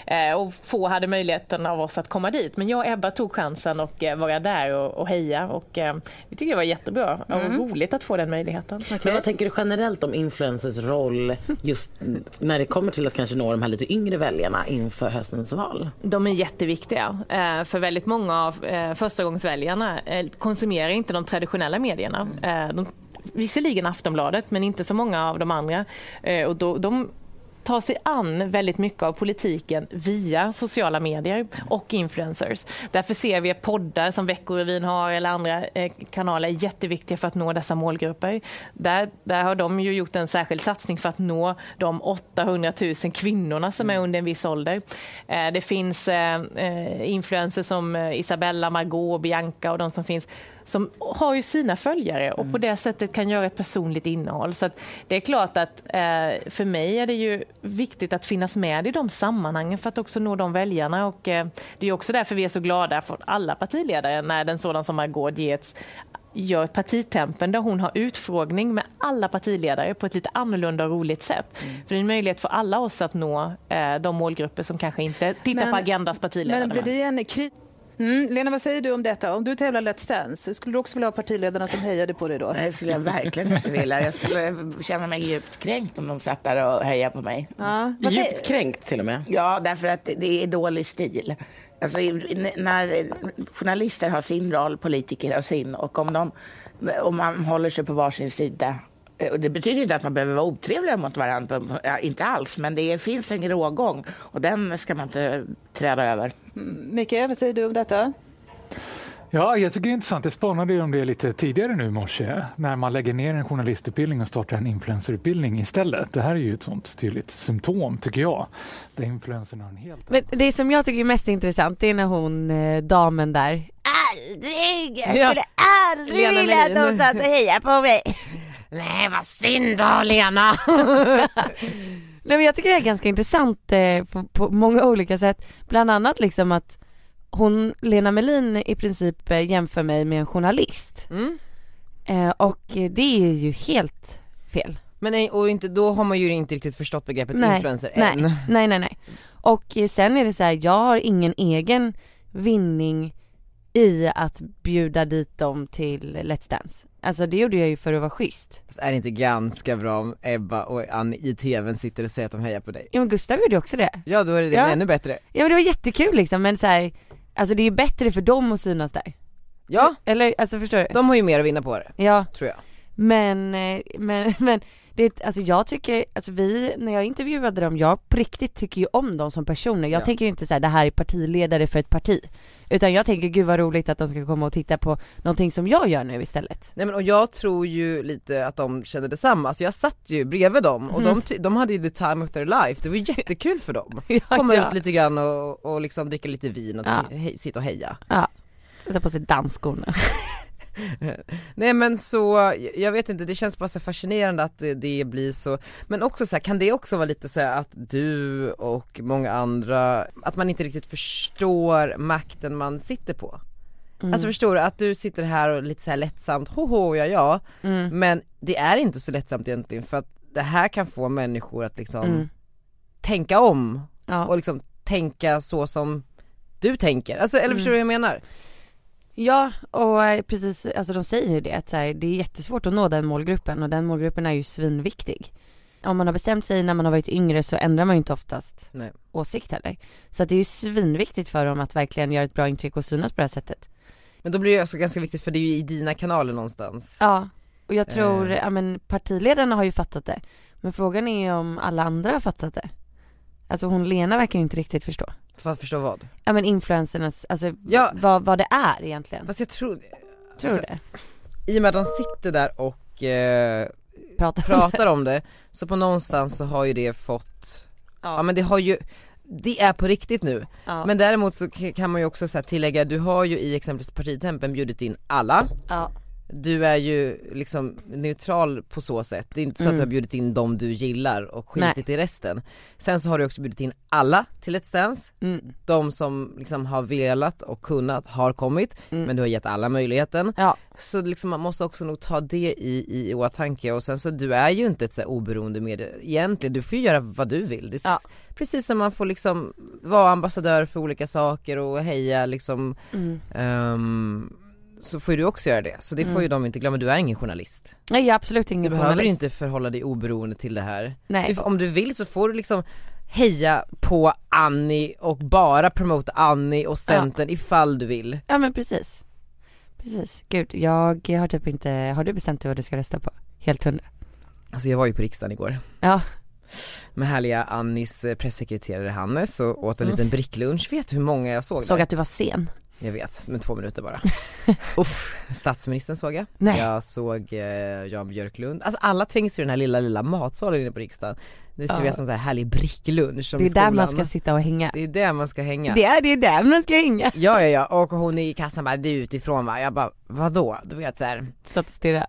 S9: Eh, Och få hade möjligheten av oss att komma dit. Men jag och Ebba tog chansen och eh, vara där och, och heja och eh, vi tycker det var jättebra
S11: Mm.
S9: och roligt att få den möjligheten.
S11: Men vad tänker du generellt om influencers roll just när det kommer till att kanske nå de här lite yngre väljarna inför höstens val?
S9: De är jätteviktiga. eh, För väldigt många av eh, förstagångsväljarna eh, konsumerar inte de traditionella medierna. Eh, De, visserligen Aftonbladet, men inte så många av de andra. Eh, Och då, de tar sig an väldigt mycket av politiken via sociala medier och influencers. Därför ser vi att poddar som Veckorevyn har eller andra eh, kanaler är jätteviktiga för att nå dessa målgrupper. Där, där har de ju gjort en särskild satsning för att nå de 800 000 kvinnorna som är under en viss ålder. Eh, Det finns eh, eh, influencers som eh, Isabella, Margot, Bianca och de som finns som har ju sina följare och på det sättet kan göra ett personligt innehåll. Så att det är klart att eh, för mig är det ju viktigt att finnas med i de sammanhangen för att också nå de väljarna och eh, det är ju också därför vi är så glada för alla partiledare när en sådan som Margot Dietz gör partitempen där hon har utfrågning med alla partiledare på ett lite annorlunda och roligt sätt.
S4: Mm.
S9: För det är en möjlighet för alla oss att nå eh, de målgrupper som kanske inte tittar
S4: Men-
S9: på Agendas partiledare.
S4: Men blir det en kri- Mm, Lena, vad säger du om detta? Om du tävlar Let's Dance, skulle du också vilja ha partiledarna som hejade på dig då?
S5: Nej, det skulle jag verkligen inte vilja. Jag skulle känna mig djupt kränkt om de satt där och hejade på mig.
S4: Ja, vad säger-
S5: Djupt kränkt till och med? Ja, därför att det- det är dålig stil. Alltså, i- n- när journalister har sin roll, politiker har sin. Och om, de, om man håller sig på varsin sida eh, och det betyder inte att man behöver vara otrevliga mot varandra, ja, inte alls, men det finns en rågång och den ska man inte träda över.
S4: Mikael, vad säger du om detta?
S12: Ja, jag tycker det är intressant. Jag spanade ju om det lite tidigare nu i morse, när man lägger ner en journalistutbildning och startar en influencerutbildning istället. Det här är ju ett sånt tydligt symptom, tycker jag, där influencern har en helt
S3: Men det som jag tycker är mest intressant det är när hon, eh, damen där Aldrig! Jag
S12: Ja.
S3: skulle aldrig
S12: Lena
S3: vilja att de
S12: Melin.
S3: satt och hejade på mig! Nej vad synd då Lena! <laughs> Nej men jag tycker det är ganska intressant eh, på, på många olika sätt. Bland annat liksom att hon, Lena Melin i princip eh, jämför mig med en journalist.
S1: Mm.
S3: Eh, och eh, det är ju helt fel.
S1: Men nej, och inte, då har man ju inte riktigt förstått begreppet influencer
S3: nej,
S1: än.
S3: Nej, nej, nej. Och eh, sen är det så här, jag har ingen egen vinning i att bjuda dit dem till Let's Dance. Alltså det gjorde jag ju för att vara schysst.
S1: Så är det inte ganska bra om Ebba och Annie i tvn sitter och säger att de hejar på dig?
S3: Ja men Gustav gjorde ju också det.
S1: Ja då är det det,
S3: Ja.
S1: men ännu bättre.
S3: Ja men det var jättekul liksom men så här, alltså det är ju bättre för dem att synas där.
S1: Ja.
S3: Eller alltså förstår du?
S1: De har ju mer att vinna på det.
S3: Ja.
S1: Tror jag.
S3: Men, eh, men, <laughs> men det, alltså jag tycker, alltså vi, när jag intervjuade dem, jag på riktigt tycker ju om dem som personer. Jag
S1: Ja.
S3: tänker inte så här, det här är partiledare för ett parti. Utan jag tänker, gud vad roligt att de ska komma och titta på någonting som jag gör nu istället. <laughs>
S1: Nej men och jag tror ju lite att de känner detsamma, alltså jag satt ju bredvid dem och
S3: Mm.
S1: de, ty- de hade ju the time of their life, det var ju jättekul för dem. Komma
S3: <laughs> ja.
S1: ut lite grann och, och liksom dricka lite vin och
S3: Ja.
S1: ti- hej, sitta och heja.
S3: Ja, sätta på sig dansskorna.
S1: Alltså, Nej men så, jag vet inte, det känns bara så fascinerande att det, det blir så, men också så här, kan det också vara lite så här att du och många andra, att man inte riktigt förstår makten man sitter på?
S3: Mm.
S1: Alltså förstår du, att du sitter här och lite så här lättsamt, hoho ja ja,
S3: Mm.
S1: men det är inte så lättsamt egentligen för att det här kan få människor att liksom
S3: Mm.
S1: tänka om
S3: Ja. Mm.
S1: och liksom tänka så som du tänker, alltså eller förstår du hur jag menar?
S9: Ja, och eh, precis, alltså de säger ju det att så här, det är jättesvårt att nå den målgruppen och den målgruppen är ju svinviktig. Om man har bestämt sig när man har varit yngre så ändrar man ju inte oftast
S1: Nej.
S9: åsikt heller. Så att det är ju svinviktigt för dem att verkligen göra ett bra intryck och synas på det här sättet.
S1: Men då blir det ju också ganska viktigt för det är ju i dina kanaler någonstans.
S9: Ja, och jag tror,
S1: Eh.
S9: ja men partiledarna har ju fattat det. Men frågan är om alla andra har fattat det. Alltså hon Lena verkar inte riktigt förstå.
S1: För att förstå vad?
S9: Ja men influencernas, alltså vad, vad det är egentligen.
S1: Fast jag tror...
S9: Tror
S1: alltså,
S9: du det?
S1: I och med att de sitter där och eh,
S9: pratar,
S1: om det, så på någonstans så har ju det fått,
S9: <laughs> ja,
S1: men det har ju, det är på riktigt nu.
S9: Ja.
S1: Men däremot så k- kan man ju också så här tillägga, du har ju i exempelvis partitempen bjudit in alla.
S9: Ja.
S1: Du är ju liksom neutral på så sätt, det är inte så att
S9: Mm.
S1: du har bjudit in de du gillar och
S9: Nej.
S1: skitit i resten. Sen så har du också bjudit in alla till Let's Dance,
S9: Mm.
S1: de som liksom har velat och kunnat har kommit
S9: Mm.
S1: men du har gett alla möjligheten. Så liksom man måste också nog ta det i, i åtanke och sen så du är ju inte ett så här oberoende medie egentligen, du får ju göra vad du vill. Det är s- Precis som man får liksom vara ambassadör för olika saker och heja liksom
S9: Mm.
S1: ehm, så får ju du också göra det, så det får ju
S9: Mm.
S1: de inte glömma, du är ingen journalist.
S9: Nej jag är absolut
S1: Du
S9: ingen
S1: behöver
S9: journalist.
S1: inte förhålla dig oberoende till det här.
S9: Nej.
S1: Du, om du vill så får du liksom heja på Annie och bara promota Annie och Centern ifall du vill.
S9: Ja men precis. Precis. Gud, jag har typ inte, har du bestämt dig vad du ska rösta på? Helt hundra.
S1: Alltså jag var ju på riksdagen igår.
S9: Ja.
S1: Med härliga Annis eh, pressekreterare Hannes och åt en
S9: Mm.
S1: liten bricklunch. Vet du hur många jag såg
S9: Såg
S1: där?
S9: att du var sen.
S1: Jag vet, men två minuter
S9: <laughs>
S1: bara. Uff, statsministern såg jag.
S9: Nej.
S1: Jag såg eh, Jan Björklund. Alltså alla trängs ju i den här lilla, lilla matsalen inne på riksdagen. Det
S9: Ja.
S1: serveras någon sån här härlig bricklunch som
S9: det är
S1: i skolan.
S9: där man ska sitta och hänga.
S1: Det är där man ska hänga.
S9: Det är, det är där man ska hänga.
S1: Ja, ja, ja. Och hon i kassan bara, du är utifrån va? Jag bara, vadå? Du vet såhär.
S9: Satt och stirrade.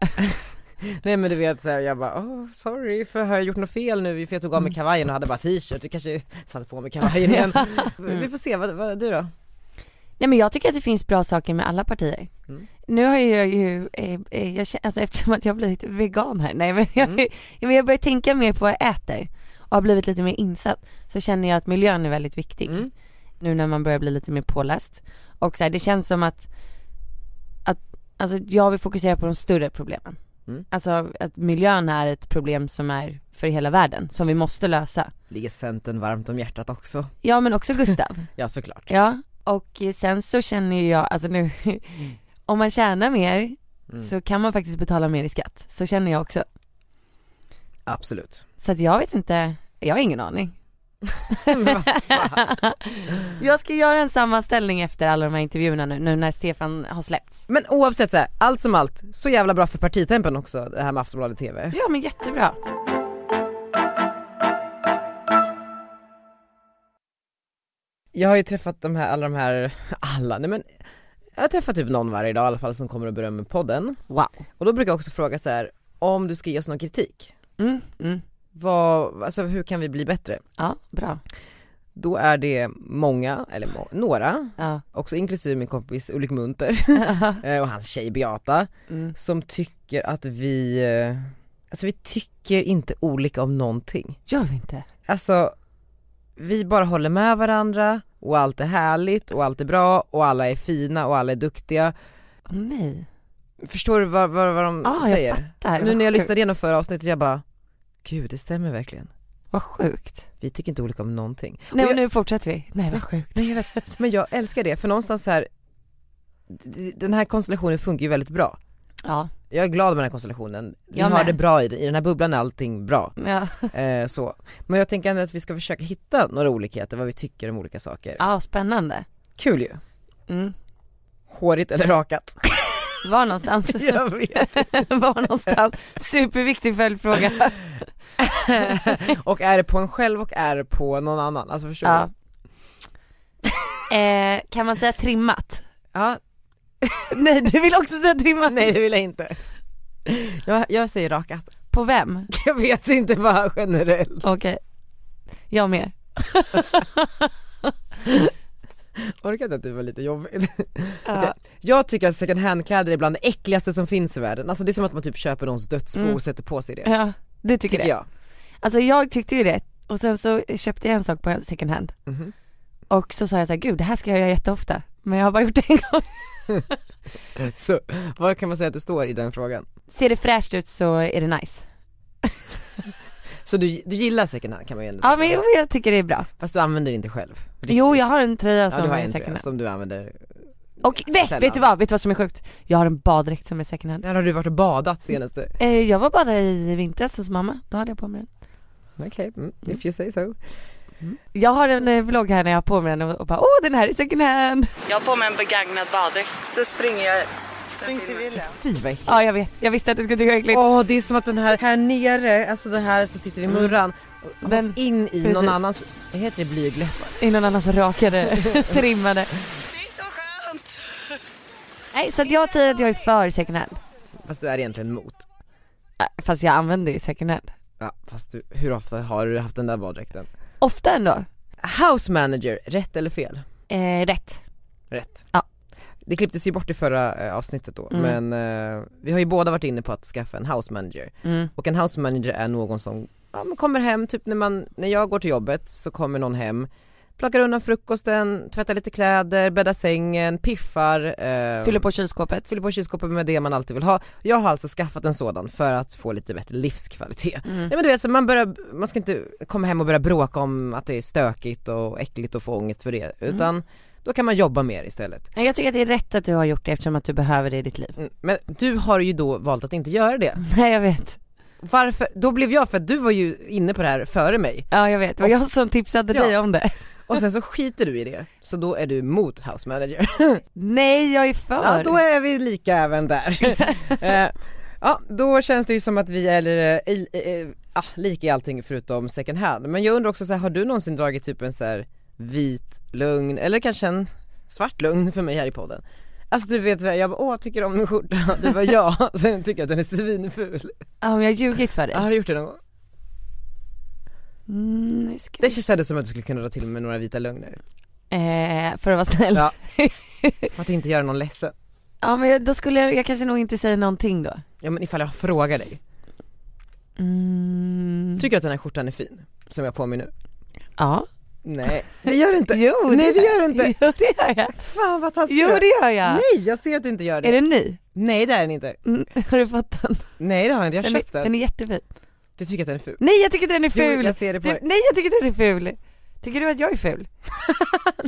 S1: Nej men du vet såhär, jag bara, oh, sorry, för har jag gjort något fel nu? För jag tog av mig
S9: Mm.
S1: kavajen och hade bara t-shirt, jag kanske satte på mig kavajen
S9: <laughs>
S1: igen.
S9: Mm.
S1: Vi får se, vad, vad du då?
S9: Nej men jag tycker att det finns bra saker med alla partier.
S1: Mm.
S9: Nu har jag ju, eh, eh, jag, känner- alltså eftersom att jag har blivit vegan här, nej men jag, ja, men jag börjar tänka mer på vad jag äter och har blivit lite mer insatt så känner jag att miljön är väldigt viktig.
S1: Mm.
S9: Nu när man börjar bli lite mer påläst. Och så här, det känns som att, att, alltså jag vill fokusera på de större problemen.
S1: Mm.
S9: Alltså att miljön är ett problem som är för hela världen, som vi måste lösa.
S1: Ligger Centern varmt om hjärtat också?
S9: Ja
S1: <laughs>
S9: men också Gustav.
S1: Ja såklart.
S9: Ja, och sen så känner ju jag, alltså nu, <laughs> om man tjänar mer
S1: Mm.
S9: så kan man faktiskt betala mer i skatt. Så känner jag också.
S1: Absolut.
S9: Så att jag vet inte, jag har ingen aning.
S1: <laughs>
S9: <laughs> jag ska göra en sammanställning efter alla de här intervjuerna nu, nu när Stefan har släppts.
S1: Men oavsett såhär, allt som allt, så jävla bra för partitempen också det här med Aftonbladet TV.
S9: Ja men jättebra.
S1: Jag har ju träffat de här, alla de här, alla, nej men jag har träffat typ någon varje dag i alla fall som kommer och berömmer podden.
S9: Wow.
S1: Och då brukar jag också fråga så här: om du ska ge oss någon kritik,
S9: Mm, mm.
S1: vad, alltså hur kan vi bli bättre?
S9: Ja, bra.
S1: Då är det många, eller må, några,
S9: Ja.
S1: också inklusive min kompis Ulrik
S9: <laughs>
S1: Munter eh, och hans tjej Beata,
S9: Mm.
S1: som tycker att vi, eh, alltså vi tycker inte olika om någonting.
S9: Gör vi inte?
S1: Alltså, vi bara håller med varandra och allt är härligt och allt är bra och alla är fina och alla är duktiga.
S9: Åh, nej.
S1: Förstår du vad, vad, vad de
S9: Ah, jag
S1: säger?
S9: fattar.
S1: nu
S9: Vad
S1: när jag
S9: sjukt.
S1: lyssnade igenom förra avsnittet jag bara, gud det stämmer verkligen.
S9: Vad sjukt.
S1: Vi tycker inte olika om någonting.
S9: Nej
S1: Och
S9: men
S1: jag,
S9: nu fortsätter vi. Nej vad sjukt.
S1: Nej, jag vet, men jag älskar det för någonstans här, d- den här konstellationen funkar ju väldigt bra.
S9: Ja.
S1: Jag är glad med den här konstellationen, vi
S9: Jag
S1: har
S9: med.
S1: det bra i, den- i den här bubblan är allting
S9: <laughs>
S1: bra.
S9: Ja,
S1: Eh, så. Men jag tänker ändå att vi ska försöka hitta några olikheter, vad vi tycker om olika saker.
S9: ja spännande.
S1: Kul ju.
S9: Mm.
S1: Hårigt eller
S9: <laughs>
S1: rakat?
S9: Var <laughs> någonstans?
S1: Jag vet.
S9: Var någonstans? Superviktig <laughs> följdfråga.
S1: och är det på en själv och är det på någon annan? Alltså förstår
S9: Ja.
S1: du?
S9: <laughs> Eh, kan man säga trimmat?
S1: Ja.
S9: Nej du vill också säga trimmat?
S1: Nej det vill jag inte. Jag, jag säger rakat. <laughs>
S9: På vem?
S1: Jag vet inte bara generellt.
S9: Okej. Jag <laughs> med.
S1: Orkar inte att det var lite jobbigt. Okej. Jag tycker att second hand kläder är bland det äckligaste som finns i världen. Alltså det är som att man typ köper någons dödsbo
S9: Mm.
S1: och sätter på sig det.
S9: <laughs> Ja, du tycker, det?
S1: jag.
S9: Alltså jag tyckte ju det och sen så köpte jag en sak på second hand
S1: Mhm.
S9: och så sa jag så här, gud det här ska jag göra jätteofta men jag har bara gjort det en gång. <laughs>
S1: Så vad kan man säga att du står i den frågan?
S9: Ser det fräscht ut så är det nice.
S1: Så du, du gillar second hand kan man ju ändå
S9: Ja
S1: säga.
S9: men jo, men jag tycker det är bra.
S1: Fast du använder det inte själv? Riktigt.
S9: Jo jag har en tröja
S1: ja,
S9: som
S1: du har
S9: är
S1: en
S9: second
S1: tröja
S9: hand.
S1: som du använder
S9: Och vet,
S1: Sällan.
S9: vet du vad, vet du vad som är sjukt? Jag har en baddräkt som är second hand.
S1: Där har du varit och badat senaste
S9: Eh, jag var bara i vintras hos mamma, då hade jag på mig den.
S1: Okej, mm, if you say so
S9: Jag har en eh, vlogg här när jag har på mig den och och bara åh den här är second hand.
S3: Jag har på mig en begagnad baddräkt. Då springer jag. Spring till William.
S1: Fy vad äckligt
S9: Ja jag vet, jag visste att du skulle tycka det var äckligt.
S1: Åh det är som att den här, här nere, alltså den här som sitter i
S9: Mm.
S1: murran, den in i någon
S9: Precis.
S1: annans, heter det blygläppar?
S9: I någon annans rakade, trimmade. Nej så att jag säger att jag är för second hand.
S1: Fast du är egentligen mot?
S9: Eh, Fast jag använder ju second hand.
S1: Ja, fast du, hur ofta har du haft den där baddräkten?
S9: Ofta ändå.
S1: House manager, rätt eller fel?
S9: Eh, rätt.
S1: Rätt.
S9: Ja.
S1: Det klipptes ju bort i förra eh, avsnittet då,
S9: Mm.
S1: men eh, vi har ju båda varit inne på att skaffa en house manager.
S9: Mm.
S1: Och en house manager är någon som ja, men kommer hem, typ när, man, när jag går till jobbet så kommer någon hem, plockar undan frukosten, tvättar lite kläder, bäddar sängen, piffar. Eh,
S9: Fyller på kylskåpet.
S1: Fyller på kylskåpet med det man alltid vill ha. Jag har alltså skaffat en sådan för att få lite bättre livskvalitet.
S9: Mm.
S1: Nej men du vet så man, börjar, man ska inte komma hem och börja bråka om att det är stökigt och äckligt och få ångest för det utan då kan man jobba mer istället.
S9: Nej, Jag tycker att det är rätt att du har gjort det eftersom att du behöver det i ditt liv.
S1: Men du har ju då valt att inte göra det.
S9: <laughs> Nej jag vet.
S1: Varför? Då blev jag, för att du var ju inne på det här före mig.
S9: Ja jag vet, det var jag som tipsade
S1: Ja.
S9: dig om det.
S1: Och sen så skiter du i det, så då är du mot house manager. <laughs>
S9: Nej jag är för.
S1: Ja då är vi lika även där. Eh, ja då känns det ju som att vi är eh, i- eh, ah, lika i allting förutom second hand. Men jag undrar också så här, har du någonsin dragit typ en så här vit lugn eller kanske en svart lugn för mig här i podden? Alltså du vet, jag bara, åh tycker du om min skjorta? <laughs> Du bara ja, sen tycker jag att den är svinful.
S9: Ja men jag har ljugit för dig.
S1: Ja, har du gjort det någon gång?
S9: Mm, nu ska
S1: Det kändes som att du skulle kunna dra till med några vita lögner.
S9: Eh, för att vara snäll.
S1: Ja. För att inte göra någon ledsen.
S9: Ja men jag- då skulle jag, jag kanske nog inte säga någonting då.
S1: Ja men ifall jag frågar dig,
S9: Mm.
S1: tycker du att den här skjortan är fin? Som jag har på mig nu?
S9: Ja.
S1: Nej det gör det
S9: <laughs>
S1: inte. Jo, Nej det gör det inte.
S9: Jo det gör jag.
S1: Fan vad taskig
S9: Jo
S1: du är.
S9: det gör jag.
S1: Nej jag ser att du inte gör det.
S9: Är den ny?
S1: Nej det är den inte.
S9: Mm, har du fått den?
S1: Nej det har jag inte, jag har
S9: den
S1: köpt
S9: är,
S1: den.
S9: Den är jättefin.
S1: Du tycker att den är ful?
S9: Nej jag tycker den är
S1: Jo,
S9: ful.
S1: jag ser det på dig. <laughs>
S9: Nej jag tycker den är ful. Tycker du att jag är ful?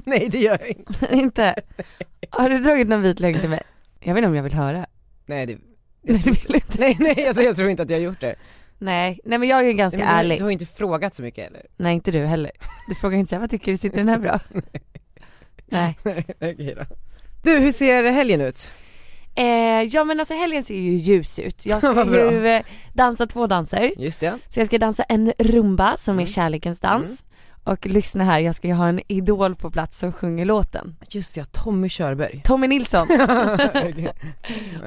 S1: Nej det gör jag <laughs> inte.
S9: inte? <laughs> Har du dragit någon vit lögn till mig? Jag vet inte om jag vill höra.
S1: <laughs> Nej det,
S9: Nej du vill inte.
S1: nej, nej alltså, jag tror inte att jag har gjort det.
S9: Nej, nej men jag är ju ganska
S1: Nej, men du-
S9: ärlig.
S1: Du har ju inte frågat så mycket heller. <laughs>
S9: Nej inte du heller. Du frågar inte såhär, vad tycker du, sitter den här bra? Nej.
S1: Okej då. Du hur ser helgen ut?
S9: Eh, ja men alltså helgen ser ju ljus
S1: <laughs>
S9: ut. Jag ska
S1: Vad bra.
S9: ju eh, dansa två danser.
S1: Just det.
S9: Så jag ska dansa en rumba
S1: Mm.
S9: som är kärlekens dans. Och lyssna här, jag ska ju ha en idol på plats som sjunger låten.
S1: Just det, ja, Tommy Körberg.
S9: Tommy Nilsson.
S1: <laughs> Okej.
S9: <laughs>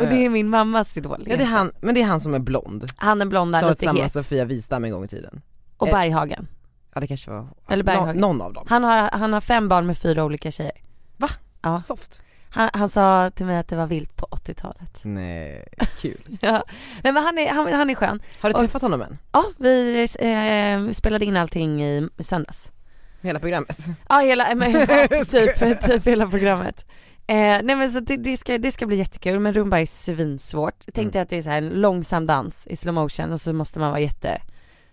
S9: och det är min mammas idol.
S1: Ja, det är han, men det är han som är blond.
S9: Han är blond,
S1: Som
S9: där,
S1: var
S9: lite
S1: tillsammans
S9: het.
S1: med Sofia Wistam en gång i tiden.
S9: Och
S1: Eh,
S9: Berghagen.
S1: Ja det kanske var
S9: Eller Berghagen.
S1: Nå, någon av dem.
S9: Han har, han har fem barn med fyra olika tjejer.
S1: Va?
S9: Ja.
S1: Soft.
S9: Han, han sa till mig att det var vilt
S1: <laughs>
S9: på 80-talet.
S1: Nej, kul.
S9: Ja. Nej men han är, han, han är skön.
S1: Har du
S9: Och-
S1: träffat honom än?
S9: Ja, vi eh, spelade in allting i söndags.
S1: Hela programmet?
S9: Ja, hela, <laughs> men, ja, typ, <laughs> typ hela programmet. Eh, nej men så det, det, ska, det ska bli jättekul men rumba är svinsvårt. Jag tänkte att det är så här en långsam dans i slow motion och så måste man vara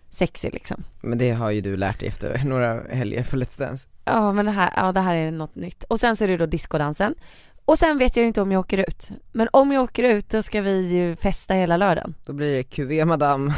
S9: jättesexig liksom.
S1: Men det har ju du lärt dig efter <laughs> några helger på Let's Dance.
S9: Ja men det här, ja, det här är något nytt. Och sen så är det då discodansen. Och sen vet jag ju inte om jag åker ut. Men om jag åker ut då ska vi ju festa hela lördagen.
S1: Då blir det QV <laughs> madame,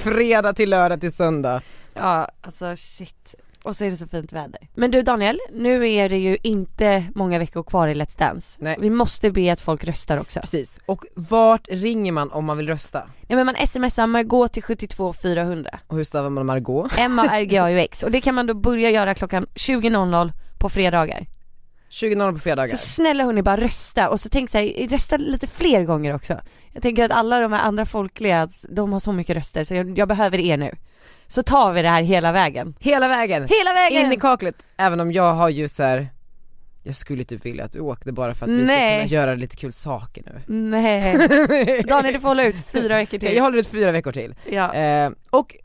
S1: fredag till lördag till söndag.
S9: Ja alltså shit. Och så är det så fint väder. Men du Daniel, nu är det ju inte många veckor kvar i Let's Dance.
S1: Nej.
S9: Vi måste be att folk röstar också.
S1: Precis, och vart ringer man om man vill rösta?
S9: Ja men man smsar Margot till 72 400.
S1: Och hur stavar man Margot?
S9: M-A-R-G-A-U-X och det kan man då börja göra klockan 20.00 på fredagar.
S1: 20.00 på fredagar.
S9: Så snälla hörni bara rösta och så tänk så här, rösta lite fler gånger också. Jag tänker att alla de här andra folkliga, de har så mycket röster så jag, jag behöver er nu. Så tar vi det här hela vägen.
S1: Hela vägen!
S9: Hela vägen!
S1: In i kaklet! Även om jag har ju så här. jag skulle typ vilja att du åkte bara för att vi ska
S9: Nej.
S1: kunna göra lite kul saker <laughs> nu.
S9: Nej. Daniel du får hålla ut fyra veckor till.
S1: <laughs> Jag håller ut fyra veckor till.
S9: Ja.
S1: Eh, och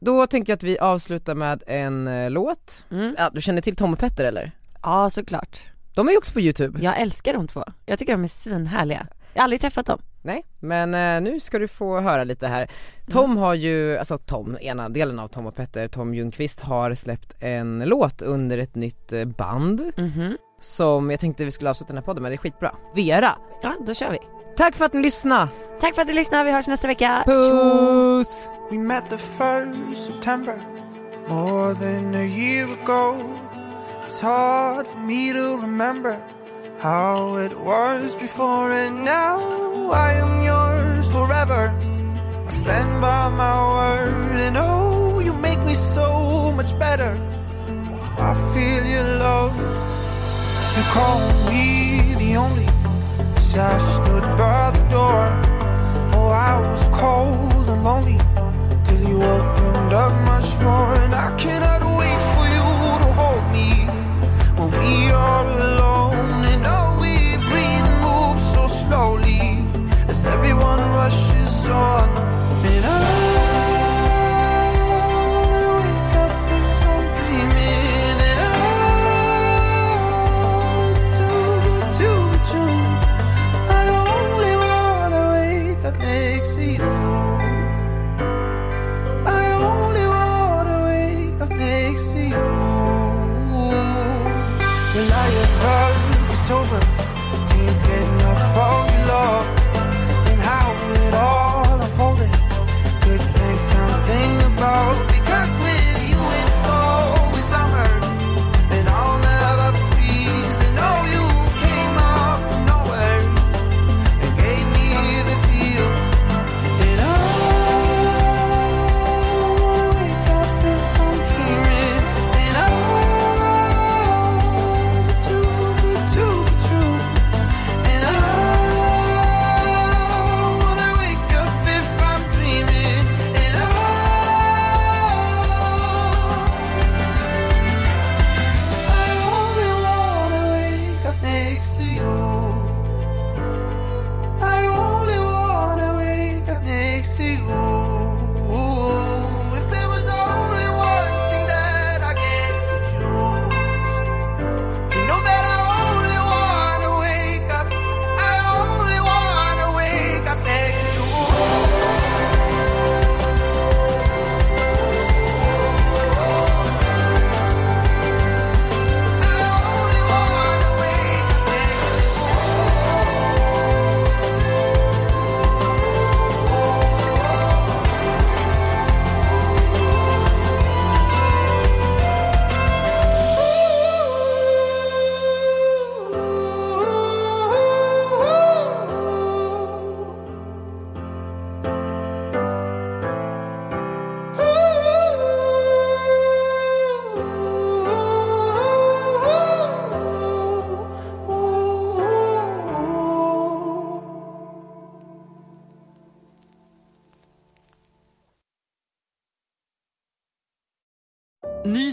S1: då tänker jag att vi avslutar med en eh, låt. Ja, du känner till Tom och Petter eller?
S9: Mm. ja såklart.
S1: De är ju också på Youtube.
S9: Jag älskar de två. Jag tycker de är svinhärliga. Jag har aldrig träffat dem.
S1: Nej, men eh, nu ska du få höra lite här. Tom har ju, alltså Tom, ena delen av Tom och Petter, Tom Ljungqvist har släppt en låt under ett nytt eh, band som jag tänkte vi skulle avsluta den här podden med, det är skitbra. Vera!
S9: Ja, då kör vi.
S1: Tack för att ni lyssnade!
S9: Tack för att du lyssnade, vi hörs nästa vecka.
S1: Puss!
S10: We met the first September, more than a year ago. It's hard for me to remember how it was before, and now I am yours forever. I stand by my word, and oh, you make me so much better. I feel your love. You call me the only, as I stood by the door. Oh, I was cold and lonely till you opened up much more. And I cannot wait for you to hold me when we are alone. And oh, we breathe and move so slowly as everyone rushes on. And I wake up from dreaming, and I was too good to be true. I only wanna wake up next to you. I only wanna wake up next to you. Well, I have heard it's over. Can't get enough of your love and how it all unfolded. Good thing something about because with you it's always summer and I'll never freeze. And oh, you came out from nowhere and gave me the feels. And I wanna wake up from dreaming. And I want it to be too true. And I wanna wake up if I'm dreaming. And I, I only wanna wake up next to you. I only wanna wake up next to you. If there was only one thing that I get to choose, you know that I only wanna wake up. I only wanna wake up next to you. I only wanna wake up next to you.
S13: Ny